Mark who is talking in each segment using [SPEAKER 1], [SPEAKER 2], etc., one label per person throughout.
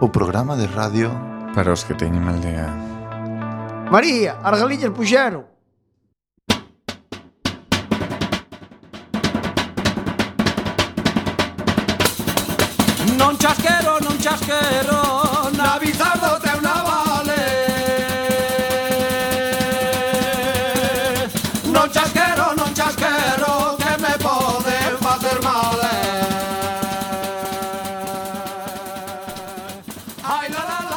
[SPEAKER 1] o programa de radio
[SPEAKER 2] Para os que teñen mal día.
[SPEAKER 3] María, as galiñas puxeron.
[SPEAKER 4] Non chasquero, non chasquero Na bizardo teu navale Non chasquero, non chasquero Que me poden facer mal eh. Ai, la, la, la.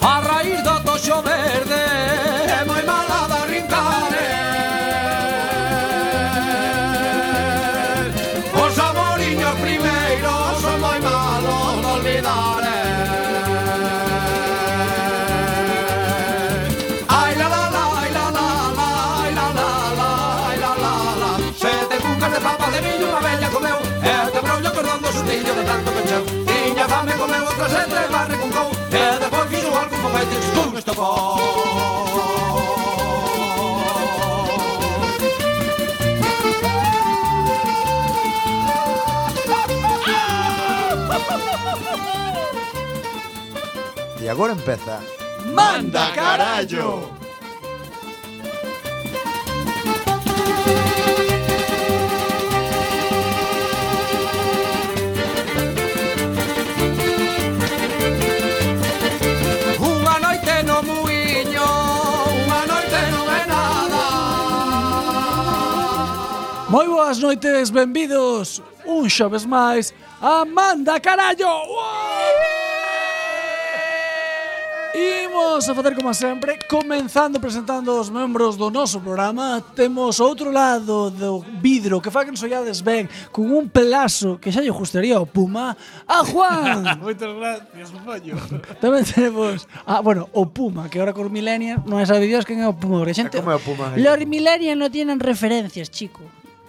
[SPEAKER 4] A raíz do toxo verde É moi mala da rincare Os amoriños primeiros Son moi malos de olvidar eh. Ai la la la, ai la la la Ai la la la, ai la la la Sete cucas de papa de miño Unha bella comeu E te brollo cordando sustillo de tanto pecheu Tiña fame comeu outra sete e barre con cou E depois fixo algo con feites Con estopou
[SPEAKER 5] E agora empeza
[SPEAKER 4] Manda carallo. Unha noite no muiño, unha noite non é nada.
[SPEAKER 6] Moi boas noites, benvidos un xoves máis a Manda Carallo! Uou! Imos a facer como sempre, comenzando presentando os membros do noso programa Temos outro lado do vidro que fa que nos ollades ben Con un pelazo que xa lle gustaría ao Puma A Juan!
[SPEAKER 3] Moitas gracias, pollo.
[SPEAKER 6] Tamén tenemos ah, bueno, o Puma, que ahora con Millennial non sabe Dios quen é o Puma, porque a
[SPEAKER 5] E
[SPEAKER 6] xente
[SPEAKER 5] como é o Puma?
[SPEAKER 7] Los millennials no tienen referencias, chico.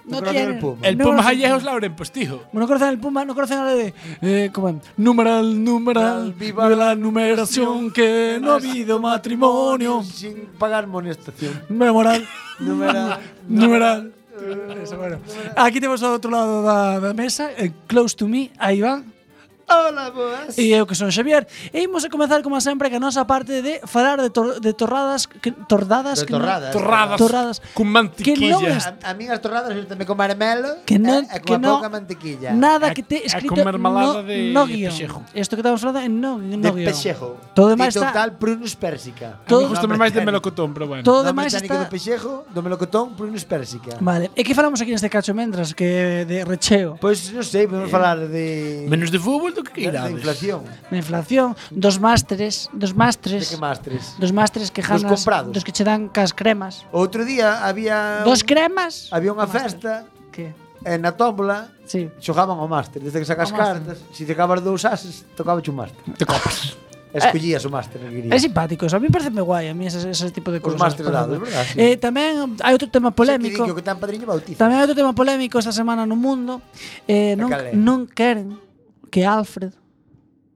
[SPEAKER 7] No
[SPEAKER 5] conocen
[SPEAKER 7] tienen.
[SPEAKER 5] el Puma.
[SPEAKER 8] El
[SPEAKER 6] No,
[SPEAKER 8] Puma
[SPEAKER 6] no,
[SPEAKER 8] Hallejos Lauren Postijo.
[SPEAKER 6] Bueno, no conocen el Puma, no conocen nada de. Eh, ¿Cómo es? Numeral, numeral. Viva la numeración que no ha habido matrimonio.
[SPEAKER 5] Sin pagar monestación
[SPEAKER 6] Memoral.
[SPEAKER 5] Numeral.
[SPEAKER 6] numeral. Eso, bueno. Aquí tenemos ao outro lado da, da mesa, eh, close to me, a Iván.
[SPEAKER 3] Hola, boas.
[SPEAKER 6] E eu que son Xavier E imos a comenzar como sempre que a nosa parte de falar de, tor de torradas que, Tordadas
[SPEAKER 5] De
[SPEAKER 6] que non-
[SPEAKER 5] torradas
[SPEAKER 8] Torradas.
[SPEAKER 6] Torradas.
[SPEAKER 8] Con
[SPEAKER 6] Que non es-
[SPEAKER 8] mantiquilla.
[SPEAKER 5] A, a min as torradas tamén con marmelo
[SPEAKER 6] Que non,
[SPEAKER 5] e, e
[SPEAKER 6] que
[SPEAKER 5] con
[SPEAKER 6] non,
[SPEAKER 5] pouca mantequilla
[SPEAKER 6] Nada
[SPEAKER 8] A-
[SPEAKER 6] que
[SPEAKER 8] a
[SPEAKER 6] te escrito
[SPEAKER 8] comer malada
[SPEAKER 6] no,
[SPEAKER 8] de
[SPEAKER 6] no guión.
[SPEAKER 8] pexejo.
[SPEAKER 6] Esto que estamos falando eh, en no, no
[SPEAKER 5] De
[SPEAKER 6] guión.
[SPEAKER 5] pexejo
[SPEAKER 6] Todo demais
[SPEAKER 5] Dito
[SPEAKER 6] está-
[SPEAKER 5] tal prunus persica
[SPEAKER 8] A mí
[SPEAKER 6] Todo-
[SPEAKER 8] gustame máis de melocotón, pero bueno.
[SPEAKER 6] Todo
[SPEAKER 5] Todo
[SPEAKER 6] demais
[SPEAKER 5] demais
[SPEAKER 6] está
[SPEAKER 5] do pexejo, do melocotón, prunus persica
[SPEAKER 6] Vale, e que falamos aquí neste cacho mentras que de recheo,
[SPEAKER 5] Pois non sei, podemos falar de
[SPEAKER 8] Eh, Menos de fútbol do que
[SPEAKER 5] da
[SPEAKER 8] queirades.
[SPEAKER 5] inflación,
[SPEAKER 6] da inflación, dos másteres, dos
[SPEAKER 5] de
[SPEAKER 6] másteres,
[SPEAKER 5] que mastres.
[SPEAKER 6] dos másteres que
[SPEAKER 5] Dos
[SPEAKER 6] janas,
[SPEAKER 5] comprados.
[SPEAKER 6] dos que che dan cas cremas.
[SPEAKER 5] Outro día había
[SPEAKER 6] Dos cremas?
[SPEAKER 5] había unha
[SPEAKER 6] Máster.
[SPEAKER 5] festa
[SPEAKER 6] Que?
[SPEAKER 5] e na tómbola
[SPEAKER 6] Sí.
[SPEAKER 5] xogaban ao máster, desde que sacas
[SPEAKER 6] Ao máster.
[SPEAKER 5] cartas, se sacabas dous ases, tocaba un máster.
[SPEAKER 8] Te copas.
[SPEAKER 5] E Escollías o máster que
[SPEAKER 6] É
[SPEAKER 5] querías.
[SPEAKER 6] simpático, eso. a mí pareceme guai, a mí ese, ese tipo de
[SPEAKER 5] Os
[SPEAKER 6] cousas.
[SPEAKER 5] másteres
[SPEAKER 6] parece
[SPEAKER 5] dados,
[SPEAKER 6] guai.
[SPEAKER 5] verdad? Sí.
[SPEAKER 6] Eh, tamén hai outro tema
[SPEAKER 5] Xa te digo
[SPEAKER 6] polémico.
[SPEAKER 5] que tan padriño bautiza.
[SPEAKER 6] Tamén hai outro tema polémico esta semana no mundo. Eh, non,
[SPEAKER 5] cal é?
[SPEAKER 6] non queren que Alfred,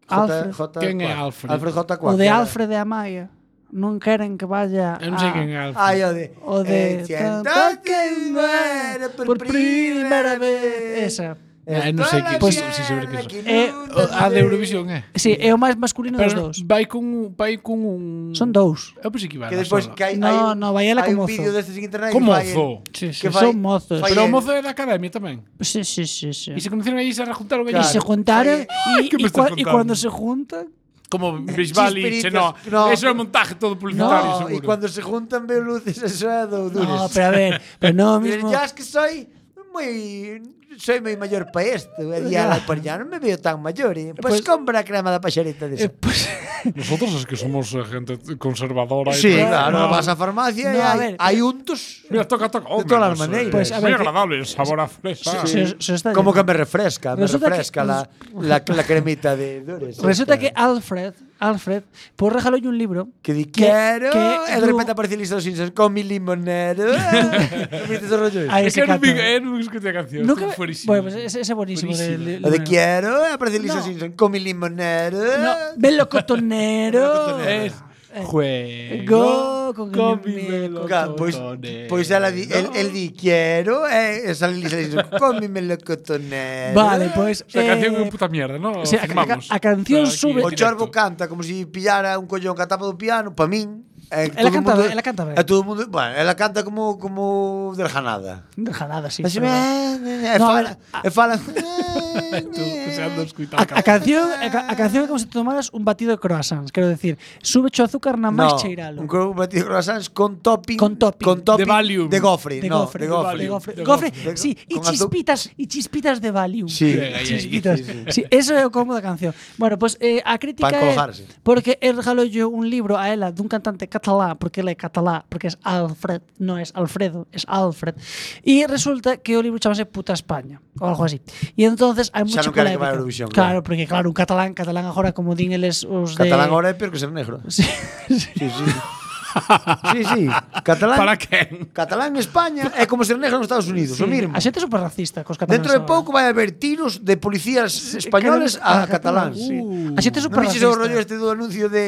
[SPEAKER 6] Alfred,
[SPEAKER 5] J,
[SPEAKER 8] Quen é Alfred?
[SPEAKER 5] Alfred J.
[SPEAKER 6] o
[SPEAKER 5] Cuac.
[SPEAKER 6] de Alfred de Amaya, non queren que vaya
[SPEAKER 8] Eu non sei
[SPEAKER 6] a-
[SPEAKER 8] quen é Alfa.
[SPEAKER 5] Ai, o de...
[SPEAKER 6] O de
[SPEAKER 5] Eh, siento
[SPEAKER 6] tanto
[SPEAKER 5] que muero por, primera vez.
[SPEAKER 6] Esa.
[SPEAKER 8] Eh, non sei que-
[SPEAKER 5] Toda
[SPEAKER 8] sí, sí, saber que
[SPEAKER 5] tierra
[SPEAKER 8] son.
[SPEAKER 5] que
[SPEAKER 6] Pois, Eh,
[SPEAKER 5] nunca
[SPEAKER 8] O- A
[SPEAKER 5] se-
[SPEAKER 8] de Eurovisión, eh. é.
[SPEAKER 6] Sí, é o máis masculino dos
[SPEAKER 8] Pero
[SPEAKER 6] dous.
[SPEAKER 8] vai con un... Vai con un...
[SPEAKER 6] Son dous.
[SPEAKER 8] Eu pensei que iba a
[SPEAKER 5] Que despois que hai,
[SPEAKER 6] No,
[SPEAKER 5] hai un-
[SPEAKER 6] no, vai ela
[SPEAKER 5] hai
[SPEAKER 6] con
[SPEAKER 5] un
[SPEAKER 6] mozo.
[SPEAKER 5] vídeo destes en internet
[SPEAKER 8] Como
[SPEAKER 5] que fai el-
[SPEAKER 8] mozo.
[SPEAKER 6] Sí, sí,
[SPEAKER 5] que fai-
[SPEAKER 6] son mozos.
[SPEAKER 5] fai
[SPEAKER 8] Pero
[SPEAKER 5] el-
[SPEAKER 8] o mozo é da academia tamén.
[SPEAKER 6] Sí, sí, sí, sí.
[SPEAKER 8] E se conocieron aí e se rejuntaron
[SPEAKER 6] Y
[SPEAKER 8] allí.
[SPEAKER 5] Claro.
[SPEAKER 6] se juntaron
[SPEAKER 8] Ay,
[SPEAKER 6] y,
[SPEAKER 8] ¿qué me
[SPEAKER 6] y
[SPEAKER 8] estás
[SPEAKER 6] cua- y
[SPEAKER 8] contando?
[SPEAKER 6] cuando se juntan,
[SPEAKER 8] Como Bisbal e se no.
[SPEAKER 5] Chispiritas, no.
[SPEAKER 8] Eso é montaje todo publicitario,
[SPEAKER 5] No,
[SPEAKER 8] seguro.
[SPEAKER 5] y cuando se juntan veo luces, eso é do Dures.
[SPEAKER 6] No, pero a ver, pero no
[SPEAKER 5] Pero
[SPEAKER 6] mismo.
[SPEAKER 5] ya es que soy muy soy moi maior pa isto. E di ela, pois ya non me veo tan maior. eh. Pois
[SPEAKER 6] Pois-
[SPEAKER 5] compra a crema da paxareta
[SPEAKER 6] Eh,
[SPEAKER 5] de
[SPEAKER 6] pues,
[SPEAKER 8] Nosotros es que somos eh, gente conservadora. y
[SPEAKER 5] Sí, claro,
[SPEAKER 8] tal. No.
[SPEAKER 5] vas á farmacia e
[SPEAKER 6] No, a
[SPEAKER 5] hai,
[SPEAKER 6] ver. eh,
[SPEAKER 5] hai untos
[SPEAKER 8] Mira, toca, toca. Oh,
[SPEAKER 5] De todas las
[SPEAKER 8] menos, eh,
[SPEAKER 5] maneras.
[SPEAKER 6] Pues, a
[SPEAKER 8] muy
[SPEAKER 6] ver,
[SPEAKER 8] agradable, el sabor a fresa.
[SPEAKER 6] se- se- se os está
[SPEAKER 5] Como que
[SPEAKER 6] yendo.
[SPEAKER 5] me refresca, me
[SPEAKER 6] Resulta que-
[SPEAKER 5] refresca la, la, la cremita de dures. esta.
[SPEAKER 6] Resulta que Alfred, Alfred, por regalo y un libro.
[SPEAKER 5] Que di,
[SPEAKER 6] que-
[SPEAKER 5] quero,
[SPEAKER 6] que
[SPEAKER 5] e de repente
[SPEAKER 6] Blue-
[SPEAKER 5] aparece listo sin ser con mi limonero. Non viste ese rollo?
[SPEAKER 6] Ahí
[SPEAKER 8] Es
[SPEAKER 6] se
[SPEAKER 8] que no
[SPEAKER 6] cata.
[SPEAKER 8] me, eh, no me escuché la canción.
[SPEAKER 6] Nunca
[SPEAKER 8] Nunca,
[SPEAKER 6] me-
[SPEAKER 8] fuerísimo.
[SPEAKER 6] Bueno, pues ese, ese buenísimo. del- del-
[SPEAKER 5] O de quiero, e aparece listo
[SPEAKER 6] No.
[SPEAKER 5] sin con mi limonero.
[SPEAKER 6] No, melocotonero.
[SPEAKER 8] Es
[SPEAKER 5] Eh,
[SPEAKER 6] Juego con mi
[SPEAKER 5] Ga- Pois, pois ela pues, di, el, el di quiero, e sale Lisa Simpson con mi melocotonero.
[SPEAKER 6] Vale, pues.
[SPEAKER 8] La canción
[SPEAKER 6] eh,
[SPEAKER 8] es una puta mierda, ¿no?
[SPEAKER 6] o sea, a-
[SPEAKER 8] Firmamos.
[SPEAKER 6] a- a canción
[SPEAKER 8] Aquí,
[SPEAKER 6] sube-
[SPEAKER 5] O
[SPEAKER 8] directo.
[SPEAKER 5] Chorbo canta como se si pillara un collón que atapa do piano, pa min. Eh,
[SPEAKER 6] Ela canta ben, ela canta ben.
[SPEAKER 5] E todo o mundo, bueno, ela canta como como de janada.
[SPEAKER 6] Jalada, sí.
[SPEAKER 5] Así,
[SPEAKER 6] pero-
[SPEAKER 5] eh, e
[SPEAKER 6] No, a
[SPEAKER 5] fala,
[SPEAKER 6] ver,
[SPEAKER 5] e fala. Eh,
[SPEAKER 8] Tú, que se anda a escuchar
[SPEAKER 6] A,
[SPEAKER 8] la
[SPEAKER 6] a canción, a, ca- a canción é como se tomaras un batido de croissants, quero decir, sube o azúcar na máis cheiralo.
[SPEAKER 5] Un croissant batido de croissants con topping.
[SPEAKER 6] Con topping.
[SPEAKER 5] Con topping
[SPEAKER 8] De Valium.
[SPEAKER 5] De gofre,
[SPEAKER 6] De
[SPEAKER 5] no, de
[SPEAKER 6] gofre, de
[SPEAKER 5] gofre.
[SPEAKER 8] Valium.
[SPEAKER 6] gofre,
[SPEAKER 8] De
[SPEAKER 6] gofre,
[SPEAKER 5] gofre.
[SPEAKER 6] sí, e
[SPEAKER 5] Con azu-
[SPEAKER 6] chispitas, e chispitas de Valium.
[SPEAKER 5] Sí.
[SPEAKER 6] Chispitas. Sí, eso é o como da canción. Bueno, pois pues, eh, a crítica
[SPEAKER 5] Para
[SPEAKER 6] é
[SPEAKER 5] colgarse.
[SPEAKER 6] porque el regalollo un libro a ela dun cantante catalá, porque ela é catalá, porque é Alfred, non é Alfredo, é Alfred. E resulta que o libro chamase Puta España, ou algo así. E entonces hai
[SPEAKER 5] Xa
[SPEAKER 6] mucha
[SPEAKER 5] non queren que vaya a
[SPEAKER 6] polémica.
[SPEAKER 5] Eurovisión, claro.
[SPEAKER 6] claro, porque claro, un catalán, catalán agora como din eles os de
[SPEAKER 5] Catalán ahora é peor que ser negro.
[SPEAKER 6] Sí,
[SPEAKER 5] Sí, sí. sí, sí. Catalán.
[SPEAKER 8] ¿Para qué?
[SPEAKER 5] Catalán en España é como ser negro nos Estados Unidos, o mismo.
[SPEAKER 6] A xente é super racista cos cataláns.
[SPEAKER 5] Dentro de
[SPEAKER 6] agora.
[SPEAKER 5] pouco vai haber tiros de policías españoles a Uh. cataláns.
[SPEAKER 6] Sí.
[SPEAKER 5] Sí.
[SPEAKER 6] A xente é
[SPEAKER 5] Non
[SPEAKER 6] super
[SPEAKER 5] viches o rollo este
[SPEAKER 6] racista.
[SPEAKER 5] do anuncio de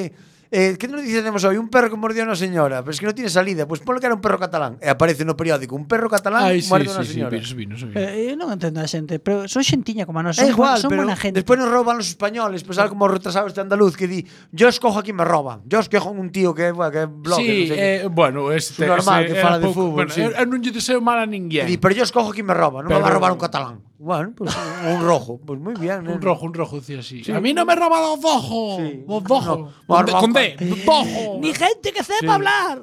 [SPEAKER 5] Eh, que noticia tenemos hoy? Un perro que mordió a una señora Pero es que no tiene salida Pois ponle que era un perro catalán E aparece no periódico Un perro catalán
[SPEAKER 8] Ay, sí,
[SPEAKER 5] muerde a
[SPEAKER 8] sí,
[SPEAKER 5] una
[SPEAKER 8] sí,
[SPEAKER 5] señora
[SPEAKER 8] vino, sí, vino, sí, vino.
[SPEAKER 6] Eh, eu non entendo a xente, pero son xentiña como a nós,
[SPEAKER 5] É
[SPEAKER 6] son,
[SPEAKER 5] igual,
[SPEAKER 6] son
[SPEAKER 5] pero
[SPEAKER 6] buena gente.
[SPEAKER 5] despois nos roban os españoles Pois algo como o retrasado este andaluz Que di, yo escojo a quien me roban Yo escojo un tío que, bueno, que é blogger
[SPEAKER 8] sí,
[SPEAKER 5] non sei que.
[SPEAKER 8] eh, bueno, este...
[SPEAKER 5] normal
[SPEAKER 8] ese
[SPEAKER 5] que fala
[SPEAKER 8] era
[SPEAKER 5] de
[SPEAKER 8] pouco-
[SPEAKER 5] fútbol,
[SPEAKER 8] Bueno, eh,
[SPEAKER 5] sí.
[SPEAKER 8] eu- eu non lle deseo mal
[SPEAKER 5] E di,
[SPEAKER 8] a ninguén.
[SPEAKER 5] pero yo escojo a quien me roba Non me va a
[SPEAKER 8] Pero-
[SPEAKER 5] robar un catalán Bueno, pues un rojo Pues muy bien neno.
[SPEAKER 8] Un rojo, un rojo, decía así. A mí no me roba los ojos.
[SPEAKER 5] Sí.
[SPEAKER 8] Los
[SPEAKER 5] No,
[SPEAKER 8] ojos.
[SPEAKER 5] me ha
[SPEAKER 8] Con D-
[SPEAKER 5] robado
[SPEAKER 8] con D. Ojo.
[SPEAKER 6] Ni gente que sepa hablar.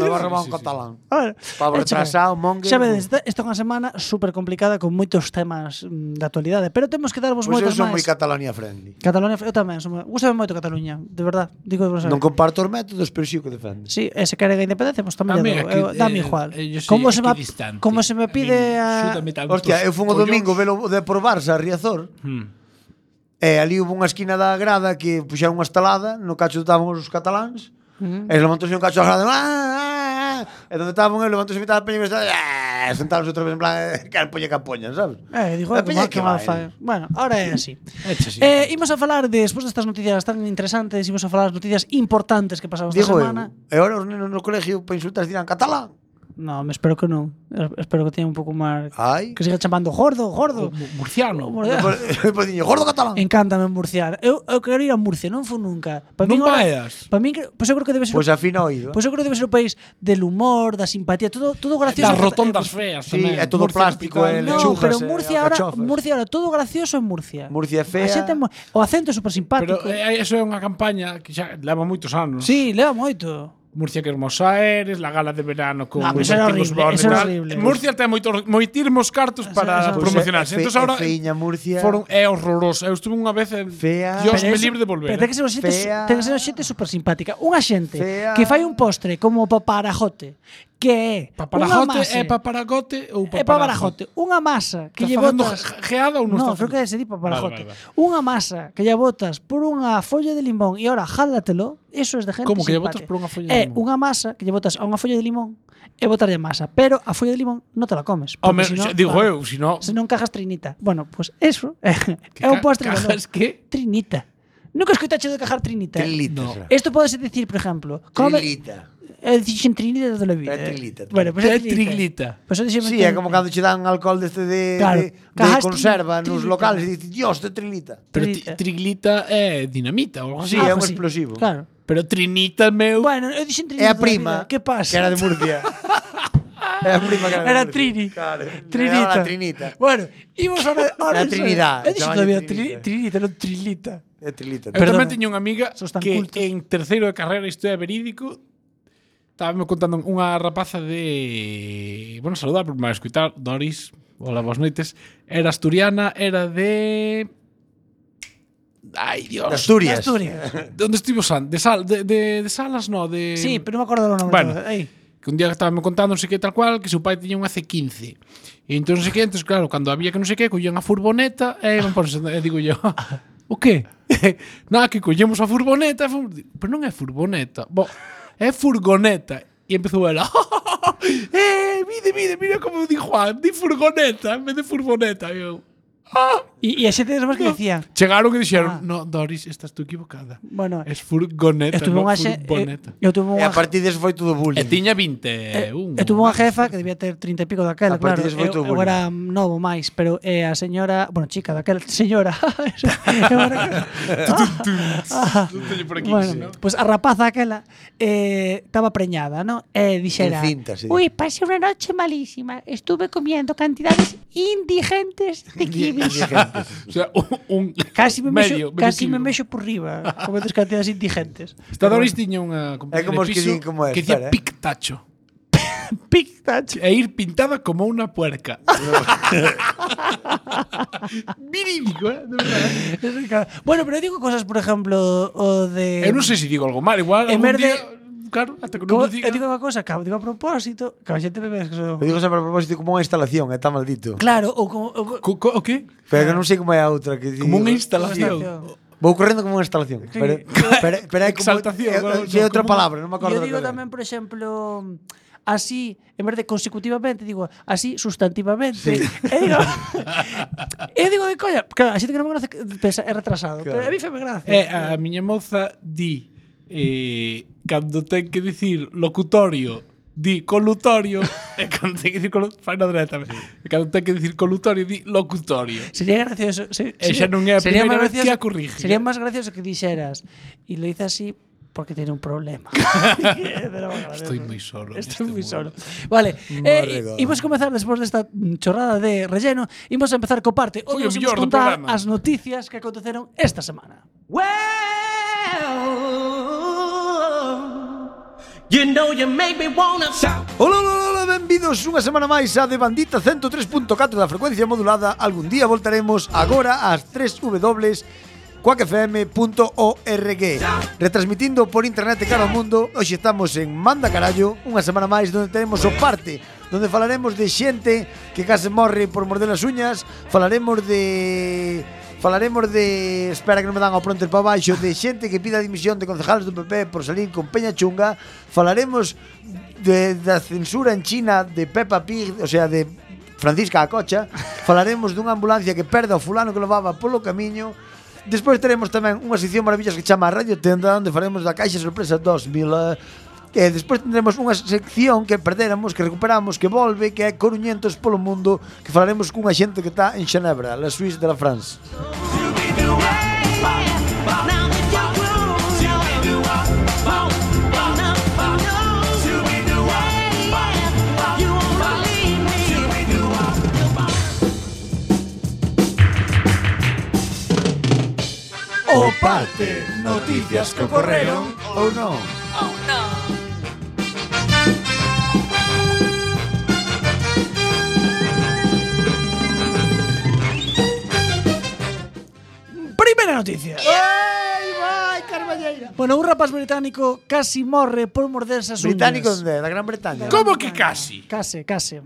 [SPEAKER 5] Me va a robar un catalán
[SPEAKER 6] Ah,
[SPEAKER 5] Pablo
[SPEAKER 6] Pablo
[SPEAKER 5] retrasado, Monge.
[SPEAKER 6] Xa vedes, esta esta é unha semana super complicada con moitos temas mm, da actualidade, pero temos que darvos
[SPEAKER 5] Pois eu
[SPEAKER 6] moitos
[SPEAKER 5] son moi
[SPEAKER 6] máis.
[SPEAKER 5] catalania friendly
[SPEAKER 6] Cataluña, eu tamén, son, gustame moito Cataluña, de verdad, digo vos.
[SPEAKER 5] Non comparto os métodos, pero sí o que defendes.
[SPEAKER 6] Sí, e se quere a independencia, pois tamén
[SPEAKER 8] A mí
[SPEAKER 6] lle
[SPEAKER 8] aquí,
[SPEAKER 6] dou. Eu- Dame
[SPEAKER 8] eh,
[SPEAKER 6] igual.
[SPEAKER 8] eh, yo soy
[SPEAKER 6] Como se me
[SPEAKER 8] equidistante.
[SPEAKER 6] como se me
[SPEAKER 8] A mí
[SPEAKER 6] pide a
[SPEAKER 8] súdame tantos
[SPEAKER 5] Hostia, eu fun o
[SPEAKER 8] collos.
[SPEAKER 5] domingo velo de por Barça a Riazor.
[SPEAKER 8] Hmm.
[SPEAKER 5] E ali hubo unha esquina da grada que puxeron unha estalada, no cacho estaban os cataláns. E levantouse un cacho da grada. "Ah, ah", E onde estaban, eu levantouse mitad da peña e me estaba, "Ah", sentaronse outra vez en plan, eh, campoña campoña, sabes?
[SPEAKER 6] Eh, dijo
[SPEAKER 5] A
[SPEAKER 6] que
[SPEAKER 5] peña
[SPEAKER 6] mal, que mal fai. Bueno, ahora é así.
[SPEAKER 8] Eche, eh. sí.
[SPEAKER 6] Eh, imos a falar de, despois destas noticias tan interesantes, imos a falar das noticias importantes que pasamos esta
[SPEAKER 5] Digo eu,
[SPEAKER 6] semana.
[SPEAKER 5] e ahora os nenos no colegio para insultar dirán catalán.
[SPEAKER 6] No, me espero que non. Es- Espero que teña un pouco máis
[SPEAKER 5] Ai.
[SPEAKER 6] que siga chamando gordo, gordo.
[SPEAKER 8] Mu- Murciano.
[SPEAKER 6] Murcia.
[SPEAKER 5] Pois diño, gordo catalán.
[SPEAKER 6] Encántame en Murciar. Eu, eu quero ir a Murcia, non fui nunca. Para
[SPEAKER 8] Non
[SPEAKER 6] ahora-
[SPEAKER 8] vaias.
[SPEAKER 6] Para min, cre- pois eu creo que debe ser
[SPEAKER 5] Pois afina o oído.
[SPEAKER 6] Pois eu creo que debe ser o país del humor, da simpatía, todo todo gracioso.
[SPEAKER 8] Las rotondas
[SPEAKER 6] Eh,
[SPEAKER 8] feas
[SPEAKER 5] Sí,
[SPEAKER 8] tamén.
[SPEAKER 5] é todo
[SPEAKER 8] Murcia
[SPEAKER 5] plástico,
[SPEAKER 8] capital.
[SPEAKER 5] é
[SPEAKER 6] No,
[SPEAKER 5] lechugas,
[SPEAKER 6] pero
[SPEAKER 5] eh,
[SPEAKER 6] Murcia ahora,
[SPEAKER 5] alcachofas.
[SPEAKER 6] Murcia ahora todo gracioso en Murcia.
[SPEAKER 5] Murcia é
[SPEAKER 6] A
[SPEAKER 5] fea.
[SPEAKER 6] xente é mo- o acento é super simpático.
[SPEAKER 8] Pero eh, eso é unha campaña que xa leva moitos anos.
[SPEAKER 6] Sí, leva moito.
[SPEAKER 8] Murcia que hermosa eres, la gala de verano con
[SPEAKER 6] No, pero eso era
[SPEAKER 8] Bertín Osborne e
[SPEAKER 6] horrible, eso era
[SPEAKER 8] tal.
[SPEAKER 6] horrible.
[SPEAKER 8] Murcia ten moito, moitirmos cartos para
[SPEAKER 6] eso- Pois é-
[SPEAKER 8] promocionarse.
[SPEAKER 5] é fe-
[SPEAKER 8] Entonces ahora
[SPEAKER 5] é feiña Murcia.
[SPEAKER 8] foron é horroroso. Eu estuve unha vez en
[SPEAKER 5] Fea.
[SPEAKER 8] Dios
[SPEAKER 6] Pero
[SPEAKER 8] me
[SPEAKER 6] eso-
[SPEAKER 8] libre de volver. eh.
[SPEAKER 6] Pero ten que ser unha xente,
[SPEAKER 5] Fea.
[SPEAKER 6] ten que ser unha xente super simpática. Unha xente
[SPEAKER 5] Fea.
[SPEAKER 6] que fai un postre como o paparajote, que é unha
[SPEAKER 8] Paparajote
[SPEAKER 6] masa,
[SPEAKER 8] é paparagote ou
[SPEAKER 6] é paparajote, unha masa que
[SPEAKER 8] Que
[SPEAKER 6] lle
[SPEAKER 8] lle botas
[SPEAKER 6] botas
[SPEAKER 8] geada ou non
[SPEAKER 6] No,
[SPEAKER 8] está
[SPEAKER 6] creo que
[SPEAKER 8] facendo?
[SPEAKER 6] se di paparajote.
[SPEAKER 8] Vale, vale,
[SPEAKER 6] Unha masa que lle botas por unha folla de limón e ahora jálatelo, eso es de gente
[SPEAKER 8] Como que lle
[SPEAKER 6] simpática.
[SPEAKER 8] botas por unha folla de
[SPEAKER 6] É
[SPEAKER 8] limón?
[SPEAKER 6] unha masa que lle botas a unha folla de limón e botarlle masa, pero a folla de limón non te la comes. porque
[SPEAKER 8] Home,
[SPEAKER 6] si
[SPEAKER 8] xa
[SPEAKER 6] non-
[SPEAKER 8] digo eh.
[SPEAKER 6] claro,
[SPEAKER 8] eu, si no
[SPEAKER 6] Se non cajas trinita. Bueno, pois pues eso é
[SPEAKER 8] ca-
[SPEAKER 6] un postre de
[SPEAKER 8] cajas
[SPEAKER 6] valor.
[SPEAKER 8] que?
[SPEAKER 6] Trinita. Nunca escoitache de cajar trinita. ¿eh?
[SPEAKER 5] Trilita.
[SPEAKER 8] No.
[SPEAKER 5] será.
[SPEAKER 6] Isto podes dicir, por exemplo, come
[SPEAKER 5] Trilita.
[SPEAKER 6] eh, dixen trinita toda a vida.
[SPEAKER 5] É
[SPEAKER 6] eh.
[SPEAKER 5] trilita, trilita.
[SPEAKER 6] Bueno, pois
[SPEAKER 8] é
[SPEAKER 6] é trinita.
[SPEAKER 8] triglita.
[SPEAKER 6] Pois eu dixen
[SPEAKER 5] Sí, é como cando che dan alcohol deste de,
[SPEAKER 6] Claro.
[SPEAKER 5] de, de
[SPEAKER 6] Cajas
[SPEAKER 5] conserva
[SPEAKER 6] tri-
[SPEAKER 5] nos
[SPEAKER 6] trilita.
[SPEAKER 5] locales e dices, dios, te trilita.
[SPEAKER 8] Pero
[SPEAKER 6] Trilita.
[SPEAKER 8] tri- triglita é dinamita ou algo
[SPEAKER 5] Sí,
[SPEAKER 8] así.
[SPEAKER 5] é
[SPEAKER 6] Ah,
[SPEAKER 5] un
[SPEAKER 6] pois sí.
[SPEAKER 5] explosivo.
[SPEAKER 6] Claro.
[SPEAKER 8] Pero trinita meu
[SPEAKER 6] Bueno, eu dixen
[SPEAKER 5] É
[SPEAKER 6] trinita.
[SPEAKER 5] a
[SPEAKER 6] toda
[SPEAKER 5] prima.
[SPEAKER 6] vida. Que pasa?
[SPEAKER 5] Que era de Murcia. é a prima que era de
[SPEAKER 6] Era
[SPEAKER 5] Murcia.
[SPEAKER 6] Trini.
[SPEAKER 5] Claro. Era
[SPEAKER 6] Trinita.
[SPEAKER 5] a Trinita.
[SPEAKER 6] Bueno, íbamos ahora. ahora
[SPEAKER 5] Era Trinidad,
[SPEAKER 6] He dicho
[SPEAKER 5] chamalle
[SPEAKER 6] todavía
[SPEAKER 5] Trinidad.
[SPEAKER 6] Trinita, Trinita non Trilita.
[SPEAKER 5] É trilita.
[SPEAKER 8] Eu tamén
[SPEAKER 6] Perdona.
[SPEAKER 8] teño unha amiga
[SPEAKER 6] Sos tan
[SPEAKER 8] que
[SPEAKER 6] cultos.
[SPEAKER 8] en terceiro de carreira isto é verídico Estaba me contando unha rapaza de... Bueno, saludar por máis escutar Doris Hola, boas noites. Era asturiana, era de... Ay, Dios.
[SPEAKER 5] De Asturias.
[SPEAKER 6] Asturias.
[SPEAKER 8] ¿Dónde estuvimos antes? De, sal, de, de, de Salas, no, de...
[SPEAKER 6] Sí, pero non me acordo o nome.
[SPEAKER 8] Bueno.
[SPEAKER 6] todo. Ei.
[SPEAKER 8] que un día estábame contando non sei que tal cual, que seu pai tiña unha C15. E entón non sei que, entón claro, cando había que non sei que, collían a furgoneta e iban por e digo yo, o que? Nada, que collemos a furgoneta, e fomos- di, pero non é furgoneta, bo, é furgoneta. E empezou ela, eh, mire, mire, mira como di Juan, di furgoneta, en vez de furgoneta. E eu, ah,
[SPEAKER 6] E, e a xente despois que dicía,
[SPEAKER 8] Chegaron e dixeron,
[SPEAKER 6] Ah.
[SPEAKER 8] no, Doris, estás tú equivocada.
[SPEAKER 6] bueno,
[SPEAKER 8] Es furgoneta,
[SPEAKER 6] eu tuve
[SPEAKER 8] non
[SPEAKER 6] unha xe,
[SPEAKER 8] furgoneta.
[SPEAKER 6] eu, eu tuve
[SPEAKER 5] E
[SPEAKER 6] unha
[SPEAKER 5] a partir deso foi todo
[SPEAKER 8] E
[SPEAKER 5] bullying.
[SPEAKER 8] tiña
[SPEAKER 6] Eh,
[SPEAKER 8] 21.
[SPEAKER 6] eu tuve unha jefa que debía ter 30 e pico
[SPEAKER 5] A
[SPEAKER 6] daquela,
[SPEAKER 5] partir
[SPEAKER 6] claro.
[SPEAKER 5] dese foi
[SPEAKER 6] Eu,
[SPEAKER 5] todo
[SPEAKER 6] eu era novo máis, pero eh, a señora, bueno, chica daquela, señora. eu era- Ah,
[SPEAKER 8] Non teño por aquí, senón.
[SPEAKER 6] bueno, pois a rapaza aquela eh, estaba preñada, ¿no? E dixera,
[SPEAKER 9] Encinta,
[SPEAKER 10] Eh,
[SPEAKER 9] sí.
[SPEAKER 10] Uy, pasé una noche malísima. Estuve comiendo cantidades indigentes de kiwis.
[SPEAKER 8] O sea, un, un
[SPEAKER 6] casi me
[SPEAKER 8] medio,
[SPEAKER 6] mexo,
[SPEAKER 8] medio
[SPEAKER 6] casi
[SPEAKER 8] quilo.
[SPEAKER 6] me mexo por riba, como das cantidades indigentes.
[SPEAKER 8] Esta Doris tiña unha
[SPEAKER 5] É como os que din como é,
[SPEAKER 8] que dicía
[SPEAKER 5] espera, eh.
[SPEAKER 8] pictacho.
[SPEAKER 6] Pictacho.
[SPEAKER 8] E ir pintada como unha puerca. Virídico, eh? De verdade.
[SPEAKER 6] bueno, pero eu digo cosas, por exemplo, o de
[SPEAKER 8] Eu non sei se digo algo mal, igual
[SPEAKER 6] En
[SPEAKER 8] algún
[SPEAKER 6] vez de-
[SPEAKER 8] día, claro, hasta que non
[SPEAKER 6] Como,
[SPEAKER 8] lo diga.
[SPEAKER 6] eu digo unha cosa, que digo a propósito, que a xente me ves que son...
[SPEAKER 5] Eu digo sempre a propósito como unha instalación, é tan maldito.
[SPEAKER 6] Claro, ou como... Ou, co-
[SPEAKER 8] Co- co- o qué?
[SPEAKER 5] Pero que non sei como é a outra que
[SPEAKER 8] Como unha
[SPEAKER 5] digo-
[SPEAKER 8] instalación.
[SPEAKER 6] Instalación.
[SPEAKER 5] Vou correndo como unha instalación.
[SPEAKER 6] Sí.
[SPEAKER 5] Pero, pero, pero é como... eh,
[SPEAKER 8] Exaltación,
[SPEAKER 5] é-
[SPEAKER 8] bueno,
[SPEAKER 5] é outra
[SPEAKER 8] como-
[SPEAKER 5] palabra, non me acordo.
[SPEAKER 6] Yo E digo
[SPEAKER 5] daquela.
[SPEAKER 6] tamén, por exemplo, así, en vez de consecutivamente, digo así
[SPEAKER 5] Sí.
[SPEAKER 6] sustantivamente. E digo, eu digo de coña, claro, a xente que non me conoce pensa, é retrasado,
[SPEAKER 5] Claro.
[SPEAKER 6] pero a mí feme gracia.
[SPEAKER 8] E Eh, a miña moza di eh, cando ten que dicir locutorio di colutorio e cando ten que dicir colutorio fai na derecha tamén. E cando ten que dicir colutorio di locutorio.
[SPEAKER 6] Sería gracioso. Se,
[SPEAKER 8] E xa non é a
[SPEAKER 6] sería
[SPEAKER 8] primeira
[SPEAKER 6] máis
[SPEAKER 8] vez que a corrige.
[SPEAKER 6] Sería máis gracioso que dixeras e lo hice así porque tiene un problema. Pero bueno,
[SPEAKER 8] Estoy moi solo. neste
[SPEAKER 6] Estoy muy
[SPEAKER 8] mundo.
[SPEAKER 6] solo. Vale, eh,
[SPEAKER 5] Morregón.
[SPEAKER 6] imos comezar despois desta mm, chorrada de relleno, imos a empezar co parte
[SPEAKER 8] Foi o
[SPEAKER 6] onde vos
[SPEAKER 8] mellor
[SPEAKER 6] imos
[SPEAKER 8] do
[SPEAKER 6] contar
[SPEAKER 8] programa.
[SPEAKER 6] as noticias que aconteceron esta semana.
[SPEAKER 5] Ola, ola, ola, benvidos unha semana máis a De Bandita 103.4 da frecuencia modulada. Algún día voltaremos agora ás 3 W cuacfm.org Retransmitindo por internet de cara ao mundo Hoxe estamos en Manda Carallo Unha semana máis donde teremos o parte Donde falaremos de xente que case morre por morder as uñas Falaremos de... Falaremos de... Espera que non me dan ao pronter para baixo De xente que pida a dimisión de concejales do PP por salir con Peña Chunga Falaremos de, da censura en China de Peppa Pig, o sea, de Francisca Acocha, falaremos dunha ambulancia que perda o fulano que levaba polo camiño. Despois teremos tamén unha sección maravillosa que chama Radio Tenda, onde faremos da Caixa Sorpresa 2000. E despois tendremos unha sección que perdéramos, que recuperamos, que volve, que é Coruñentos polo mundo, que falaremos cunha xente que está en Xenebra, la Suisse de la France.
[SPEAKER 6] "Oh,
[SPEAKER 9] O parte, noticias que ocorreron
[SPEAKER 5] Ou non?
[SPEAKER 6] Primeira noticia.
[SPEAKER 5] Ei, vai, Carballeira!
[SPEAKER 6] Bueno, un rapaz británico casi morre por morderse as uñas.
[SPEAKER 5] Británico onde? Da Gran Bretaña?
[SPEAKER 8] Como que casi? pues
[SPEAKER 6] Case, case.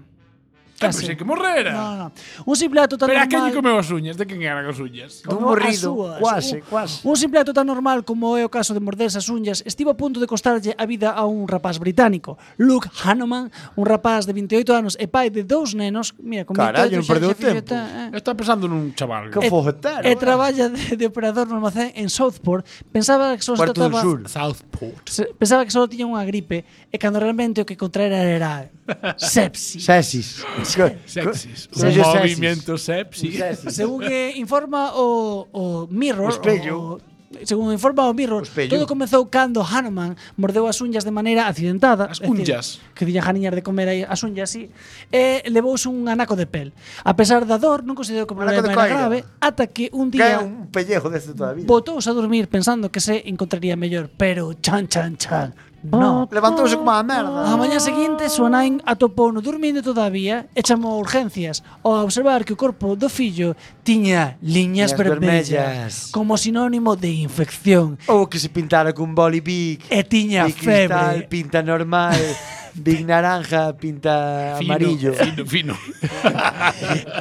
[SPEAKER 8] Eu pensei que morrera.
[SPEAKER 6] No, no. Un simple acto tan
[SPEAKER 8] Pero a quen lle
[SPEAKER 6] normal...
[SPEAKER 8] comeu as uñas? De quen eran as uñas?
[SPEAKER 5] Dun
[SPEAKER 6] como Uh, as
[SPEAKER 5] morrido,
[SPEAKER 6] súas.
[SPEAKER 5] quase,
[SPEAKER 6] Un-
[SPEAKER 5] quase.
[SPEAKER 6] Un simple acto tan normal como é o caso de morderse as uñas estivo a punto de costarlle a vida a un rapaz británico. Luke Hanneman, un rapaz de 28 anos e pai de dous nenos, mira, con
[SPEAKER 5] Carallo,
[SPEAKER 6] 28
[SPEAKER 5] non perdeu
[SPEAKER 6] xa- xa- xa-
[SPEAKER 5] tempo.
[SPEAKER 6] xa-
[SPEAKER 8] Eu estaba pensando nun chaval.
[SPEAKER 5] Que eh.
[SPEAKER 6] E-
[SPEAKER 5] fojotero.
[SPEAKER 6] E traballa de, de operador no almacén en Southport. Pensaba que só se
[SPEAKER 5] Puerto del
[SPEAKER 6] trataba...
[SPEAKER 5] Sur.
[SPEAKER 8] Southport.
[SPEAKER 6] se- Pensaba que só tiña unha gripe e cando realmente o que contraera era sepsis.
[SPEAKER 5] Sexis.
[SPEAKER 8] Sexis.
[SPEAKER 5] Co-
[SPEAKER 8] Un
[SPEAKER 5] Sexis.
[SPEAKER 8] movimento sepsi.
[SPEAKER 6] Según que informa o, o
[SPEAKER 5] O
[SPEAKER 6] Mirror,
[SPEAKER 5] espello.
[SPEAKER 6] o- según informa o Mirror,
[SPEAKER 5] O espello.
[SPEAKER 6] todo comezou cando Hanuman mordeu as unhas de maneira accidentada.
[SPEAKER 8] As
[SPEAKER 6] é dicir,
[SPEAKER 8] unllas.
[SPEAKER 6] Que tiña janiñas de comer aí as unhas, sí. E levouse un anaco de pel. A pesar da dor, non considerou que o
[SPEAKER 5] Anaco
[SPEAKER 6] problema
[SPEAKER 5] de
[SPEAKER 6] era
[SPEAKER 5] coiro.
[SPEAKER 6] grave, ata que un
[SPEAKER 5] Que é
[SPEAKER 6] día
[SPEAKER 5] un pellejo deste toda a vida.
[SPEAKER 6] botouse a dormir pensando que se encontraría mellor, pero chan chan chan,
[SPEAKER 2] No.
[SPEAKER 5] Levantouse como a merda.
[SPEAKER 6] A mañá seguinte, súa nai atopou no dormindo todavía e chamou a urgencias ao observar que o corpo do fillo tiña
[SPEAKER 5] Liñas
[SPEAKER 6] liñas
[SPEAKER 5] vermellas.
[SPEAKER 6] vermellas como sinónimo de infección
[SPEAKER 5] Ou que se pintara cun boli big.
[SPEAKER 6] e tiña
[SPEAKER 5] big cristal,
[SPEAKER 6] febre.
[SPEAKER 5] pinta normal. big naranja, pinta
[SPEAKER 8] Fino,
[SPEAKER 5] amarillo.
[SPEAKER 8] Fino, fino.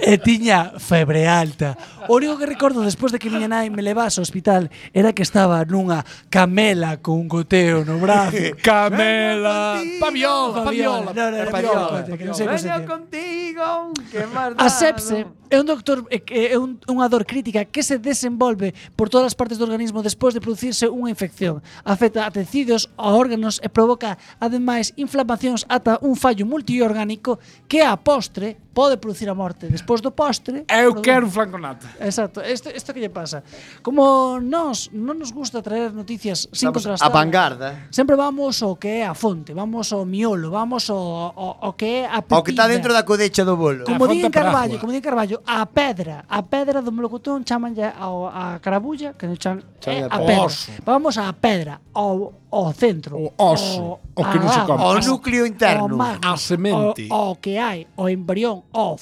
[SPEAKER 6] E tiña febre alta. O único que recordo despois de que miña nai me levase ao hospital era que estaba nunha camela con un goteo no brazo.
[SPEAKER 8] Camela. Paviola,
[SPEAKER 6] Fabiola.
[SPEAKER 8] paviola.
[SPEAKER 6] No, no, era Fabiola, que non sei como se
[SPEAKER 5] Veño
[SPEAKER 6] chama.
[SPEAKER 5] contigo, que máis
[SPEAKER 6] A sepse é un doctor é que é un, unha dor crítica que se desenvolve por todas as partes do organismo despois de producirse unha infección. Afecta a tecidos, a órganos e provoca ademais inflamacións ata un fallo multiorgánico que a postre pode producir a morte. Despois do postre
[SPEAKER 8] Eu
[SPEAKER 6] produ-
[SPEAKER 8] quero un flanconata.
[SPEAKER 6] Exacto, isto isto que lle pasa. Como nós non nos gusta traer noticias sin
[SPEAKER 5] Estamos a
[SPEAKER 6] contrastar.
[SPEAKER 5] vanguarda.
[SPEAKER 6] Sempre vamos ao que é a fonte, vamos ao miolo, vamos ao, ao, ao que é a
[SPEAKER 5] Ao que está
[SPEAKER 6] pepilla.
[SPEAKER 5] dentro da codecha do bolo.
[SPEAKER 8] A Ah,
[SPEAKER 6] Como
[SPEAKER 8] fonte
[SPEAKER 6] di en
[SPEAKER 8] Pragua.
[SPEAKER 6] Carballo, como di en Carballo, a pedra, a pedra do melocotón chamanlle ao- a, carabulla, que non chan, é
[SPEAKER 5] Chamanlle
[SPEAKER 6] a
[SPEAKER 5] a
[SPEAKER 6] pedra.
[SPEAKER 8] oso.
[SPEAKER 6] Vamos á pedra, ao, ao centro.
[SPEAKER 8] O oso, o que non se come.
[SPEAKER 5] Ao
[SPEAKER 8] As-
[SPEAKER 5] núcleo interno.
[SPEAKER 6] ao magma,
[SPEAKER 8] A semente.
[SPEAKER 6] Ao, ao que hai, ao embrión, ao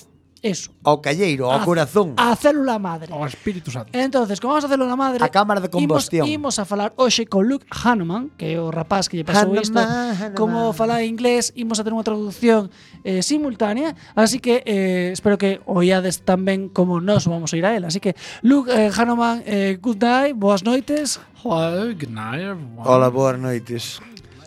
[SPEAKER 6] eso.
[SPEAKER 5] Ao calleiro, ao
[SPEAKER 6] A-
[SPEAKER 5] corazón.
[SPEAKER 6] A célula madre.
[SPEAKER 8] O Espírito Santo.
[SPEAKER 6] Entonces, como vamos a célula madre,
[SPEAKER 5] A cámara de combustión.
[SPEAKER 6] Imos, imos a falar hoxe con Luke Hanuman, que é o rapaz que lle pasou
[SPEAKER 5] Hanuman,
[SPEAKER 6] isto.
[SPEAKER 5] Hanuman.
[SPEAKER 6] Como fala inglés, imos a ter unha traducción eh, simultánea, así que eh, espero que oiades tan ben como nós vamos a ir a él. Así que, Luke eh, Hanuman, eh, good night, boas noites.
[SPEAKER 8] Hello, good night, everyone.
[SPEAKER 5] Hola, boas noites.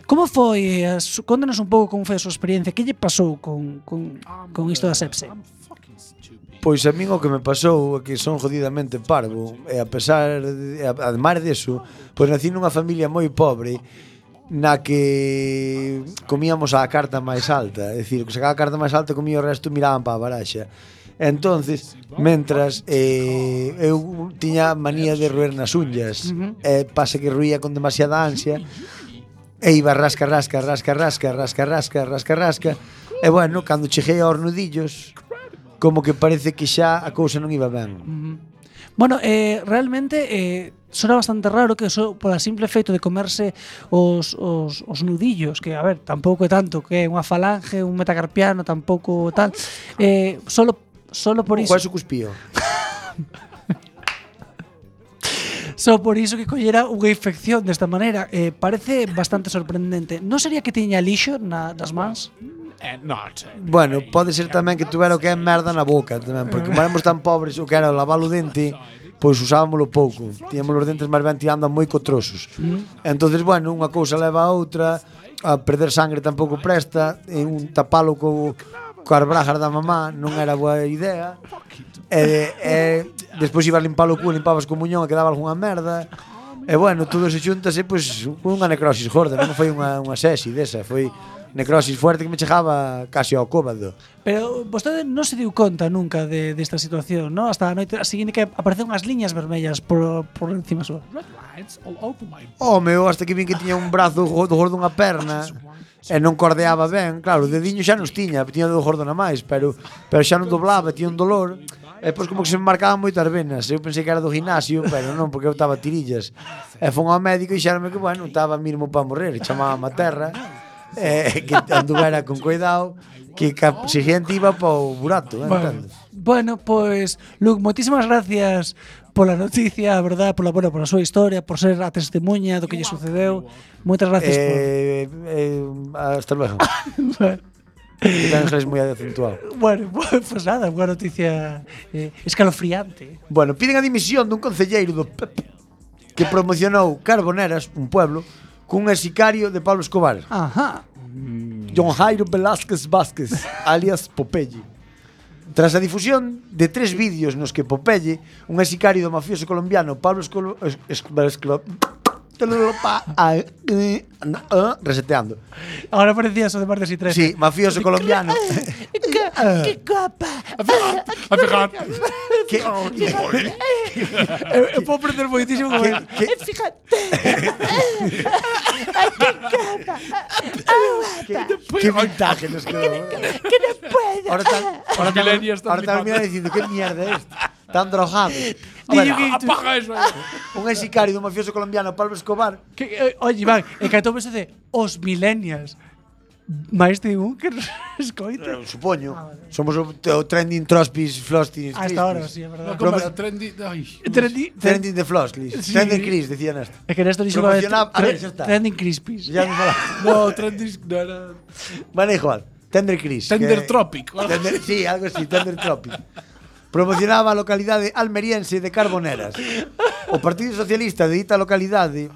[SPEAKER 6] Como foi? Eh, a su- contanos un pouco como foi a súa experiencia, que lle pasou con, con, con isto da sepse?
[SPEAKER 8] I'm fucking stupid.
[SPEAKER 5] Pois a min o que me pasou é que son jodidamente parvo e a pesar de, a- ademais deso, pois nací nunha familia moi pobre na que comíamos a carta máis alta, é dicir, o que sacaba a carta máis alta comía o resto miraban para a baraxa. Entonces, mentras eh, eu tiña manía de roer nas unllas, e Eh, pasa que ruía con demasiada ansia, E iba rasca, rasca, rasca, rasca, rasca, rasca, rasca, rasca. E bueno, cando cheguei aos nudillos, como que parece que xa a cousa non iba ben.
[SPEAKER 6] Bueno, eh, realmente eh, sona bastante raro que só por a simple feito de comerse os, os, os nudillos, que a ver, tampouco é tanto que é unha falange, un metacarpiano, tampouco tal. Eh, solo solo por iso,
[SPEAKER 5] Quase o cuspío.
[SPEAKER 6] só por iso que collera unha infección desta maneira, eh, parece bastante sorprendente. Non sería que tiña lixo na, nas mans?
[SPEAKER 8] Eh, not.
[SPEAKER 5] Bueno, pode ser tamén que tuvera o que é merda na boca tamén, porque como éramos tan pobres o que era lavar o dente, pois usábamoslo pouco. Tiñamos os dentes máis ben tirando a moi cotrosos. Entonces, bueno, unha cousa leva a outra, a perder sangre tampouco presta, e un tapalo co, coas brajas da mamá non era boa idea. E, e despois ibas limpar o cu, limpabas co muñón e quedaba algunha merda. E bueno, todo se xuntase, pois, unha necrosis gorda, non foi unha, unha sesi desa, foi necrosis fuerte que me chegaba casi ao cóbado.
[SPEAKER 6] Pero vostede non se diu conta nunca de desta situación, non? Hasta a noite a seguinte que aparecen unhas liñas vermellas por, por encima súa.
[SPEAKER 8] Red lights all over my
[SPEAKER 5] Oh, meu, hasta que vin que tiña un brazo go- do gordo unha
[SPEAKER 6] Ah,
[SPEAKER 5] perna e non cordeaba ben. Claro, o dediño xa nos tiña, tiña do gordo na máis, pero, pero xa non doblaba, tiña un dolor. E depois como que se me marcaban moitas venas. Eu pensei que era do gimnasio, pero non, porque eu estaba tirillas. E fomos ao médico e xerame que, bueno, estaba mismo para morrer. E Chamaban a terra e que anduvera con cuidado que ca- se xente iba para o burato, eh,
[SPEAKER 6] Bueno,
[SPEAKER 5] entendes?
[SPEAKER 6] bueno, pues, Luke, moitísimas gracias pola noticia, a verdad, pola, bueno, pola súa historia, por ser a testemunha do que lle sucedeu. Moitas gracias eh...
[SPEAKER 5] Eh, eh, hasta luego.
[SPEAKER 6] por...
[SPEAKER 5] El ángel es muy acentuado.
[SPEAKER 6] bueno, pues nada, boa noticia eh, escalofriante.
[SPEAKER 5] Bueno, piden a dimisión dun concelleiro do PP que promocionou Carboneras, un pueblo, cun sicario de Pablo Escobar, Mm.
[SPEAKER 6] Ajá.
[SPEAKER 5] John Jairo Velázquez Vázquez, alias Popeye. Tras a difusión de tres vídeos nos que Popeye, un sicario do mafioso colombiano Pablo Escobar, eh, reseteando.
[SPEAKER 6] Ahora parecía eso de martes y tres.
[SPEAKER 5] Sí, mafioso colombiano. Ah.
[SPEAKER 6] Que copa! Ah,
[SPEAKER 8] I forgot.
[SPEAKER 5] que,
[SPEAKER 6] Eu,
[SPEAKER 2] Eh,
[SPEAKER 6] eu podo aprender moitísimo con
[SPEAKER 5] que,
[SPEAKER 6] el.
[SPEAKER 5] que,
[SPEAKER 6] Ah,
[SPEAKER 5] que vintaje nos quedou.
[SPEAKER 11] Que no puedo.
[SPEAKER 5] Ahora están, ahora están,
[SPEAKER 8] millennials están
[SPEAKER 5] ahora están
[SPEAKER 8] flipando.
[SPEAKER 5] mirando diciendo, ¿qué mierda es? Están drogados.
[SPEAKER 2] Dillo que tú-
[SPEAKER 8] Apaga eso. aí.
[SPEAKER 5] Un ex sicario do mafioso colombiano Pablo Escobar
[SPEAKER 2] Que, eh, oye, Iván, e que atopes de os millennials. Mais de un que nos escoite.
[SPEAKER 5] Eu supoño. Somos o, o trending trospis flostis.
[SPEAKER 2] Hasta ahora, sí, é verdade.
[SPEAKER 8] No, como era trendy. Ay.
[SPEAKER 2] Trendi- tre-
[SPEAKER 5] Trending de flostis.
[SPEAKER 2] Sí.
[SPEAKER 5] Trending Chris, decía Néstor.
[SPEAKER 2] É que Néstor dixo unha vez
[SPEAKER 5] Promocionaba- a ver, xa
[SPEAKER 2] tre-
[SPEAKER 5] está.
[SPEAKER 2] Trending Crispies.
[SPEAKER 5] Ya me falaba.
[SPEAKER 8] No, trendy. No era.
[SPEAKER 5] Vale, igual. Tender Chris.
[SPEAKER 8] Tender Tropic.
[SPEAKER 5] Tender, sí, algo así, Tender Tropic. Promocionaba a localidade almeriense de Carboneras. O Partido Socialista de dita localidade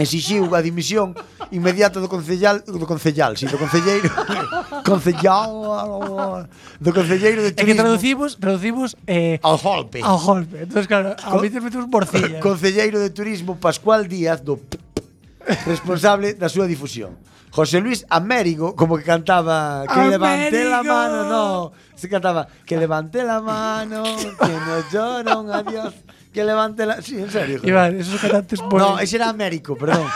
[SPEAKER 5] exixiu a dimisión inmediata do concellal do concellal, si, do concelleiro concellal do concelleiro de
[SPEAKER 2] É que
[SPEAKER 5] turismo
[SPEAKER 2] traducimos, traducimos eh,
[SPEAKER 5] ao golpe
[SPEAKER 2] ao golpe. Entonces, claro, a
[SPEAKER 5] Con-
[SPEAKER 2] mí te metemos morcilla.
[SPEAKER 5] Concelleiro de Turismo Pascual Díaz do P- responsable da súa difusión. José Luis Américo, como que cantaba que levante la
[SPEAKER 2] Américo.
[SPEAKER 5] mano, no, se cantaba que levante la mano, que no llora un adiós, que levante la, sí, en serio. joder.
[SPEAKER 2] Iván, esos cantantes
[SPEAKER 5] No,
[SPEAKER 2] buenos.
[SPEAKER 5] ese era Américo, perdón.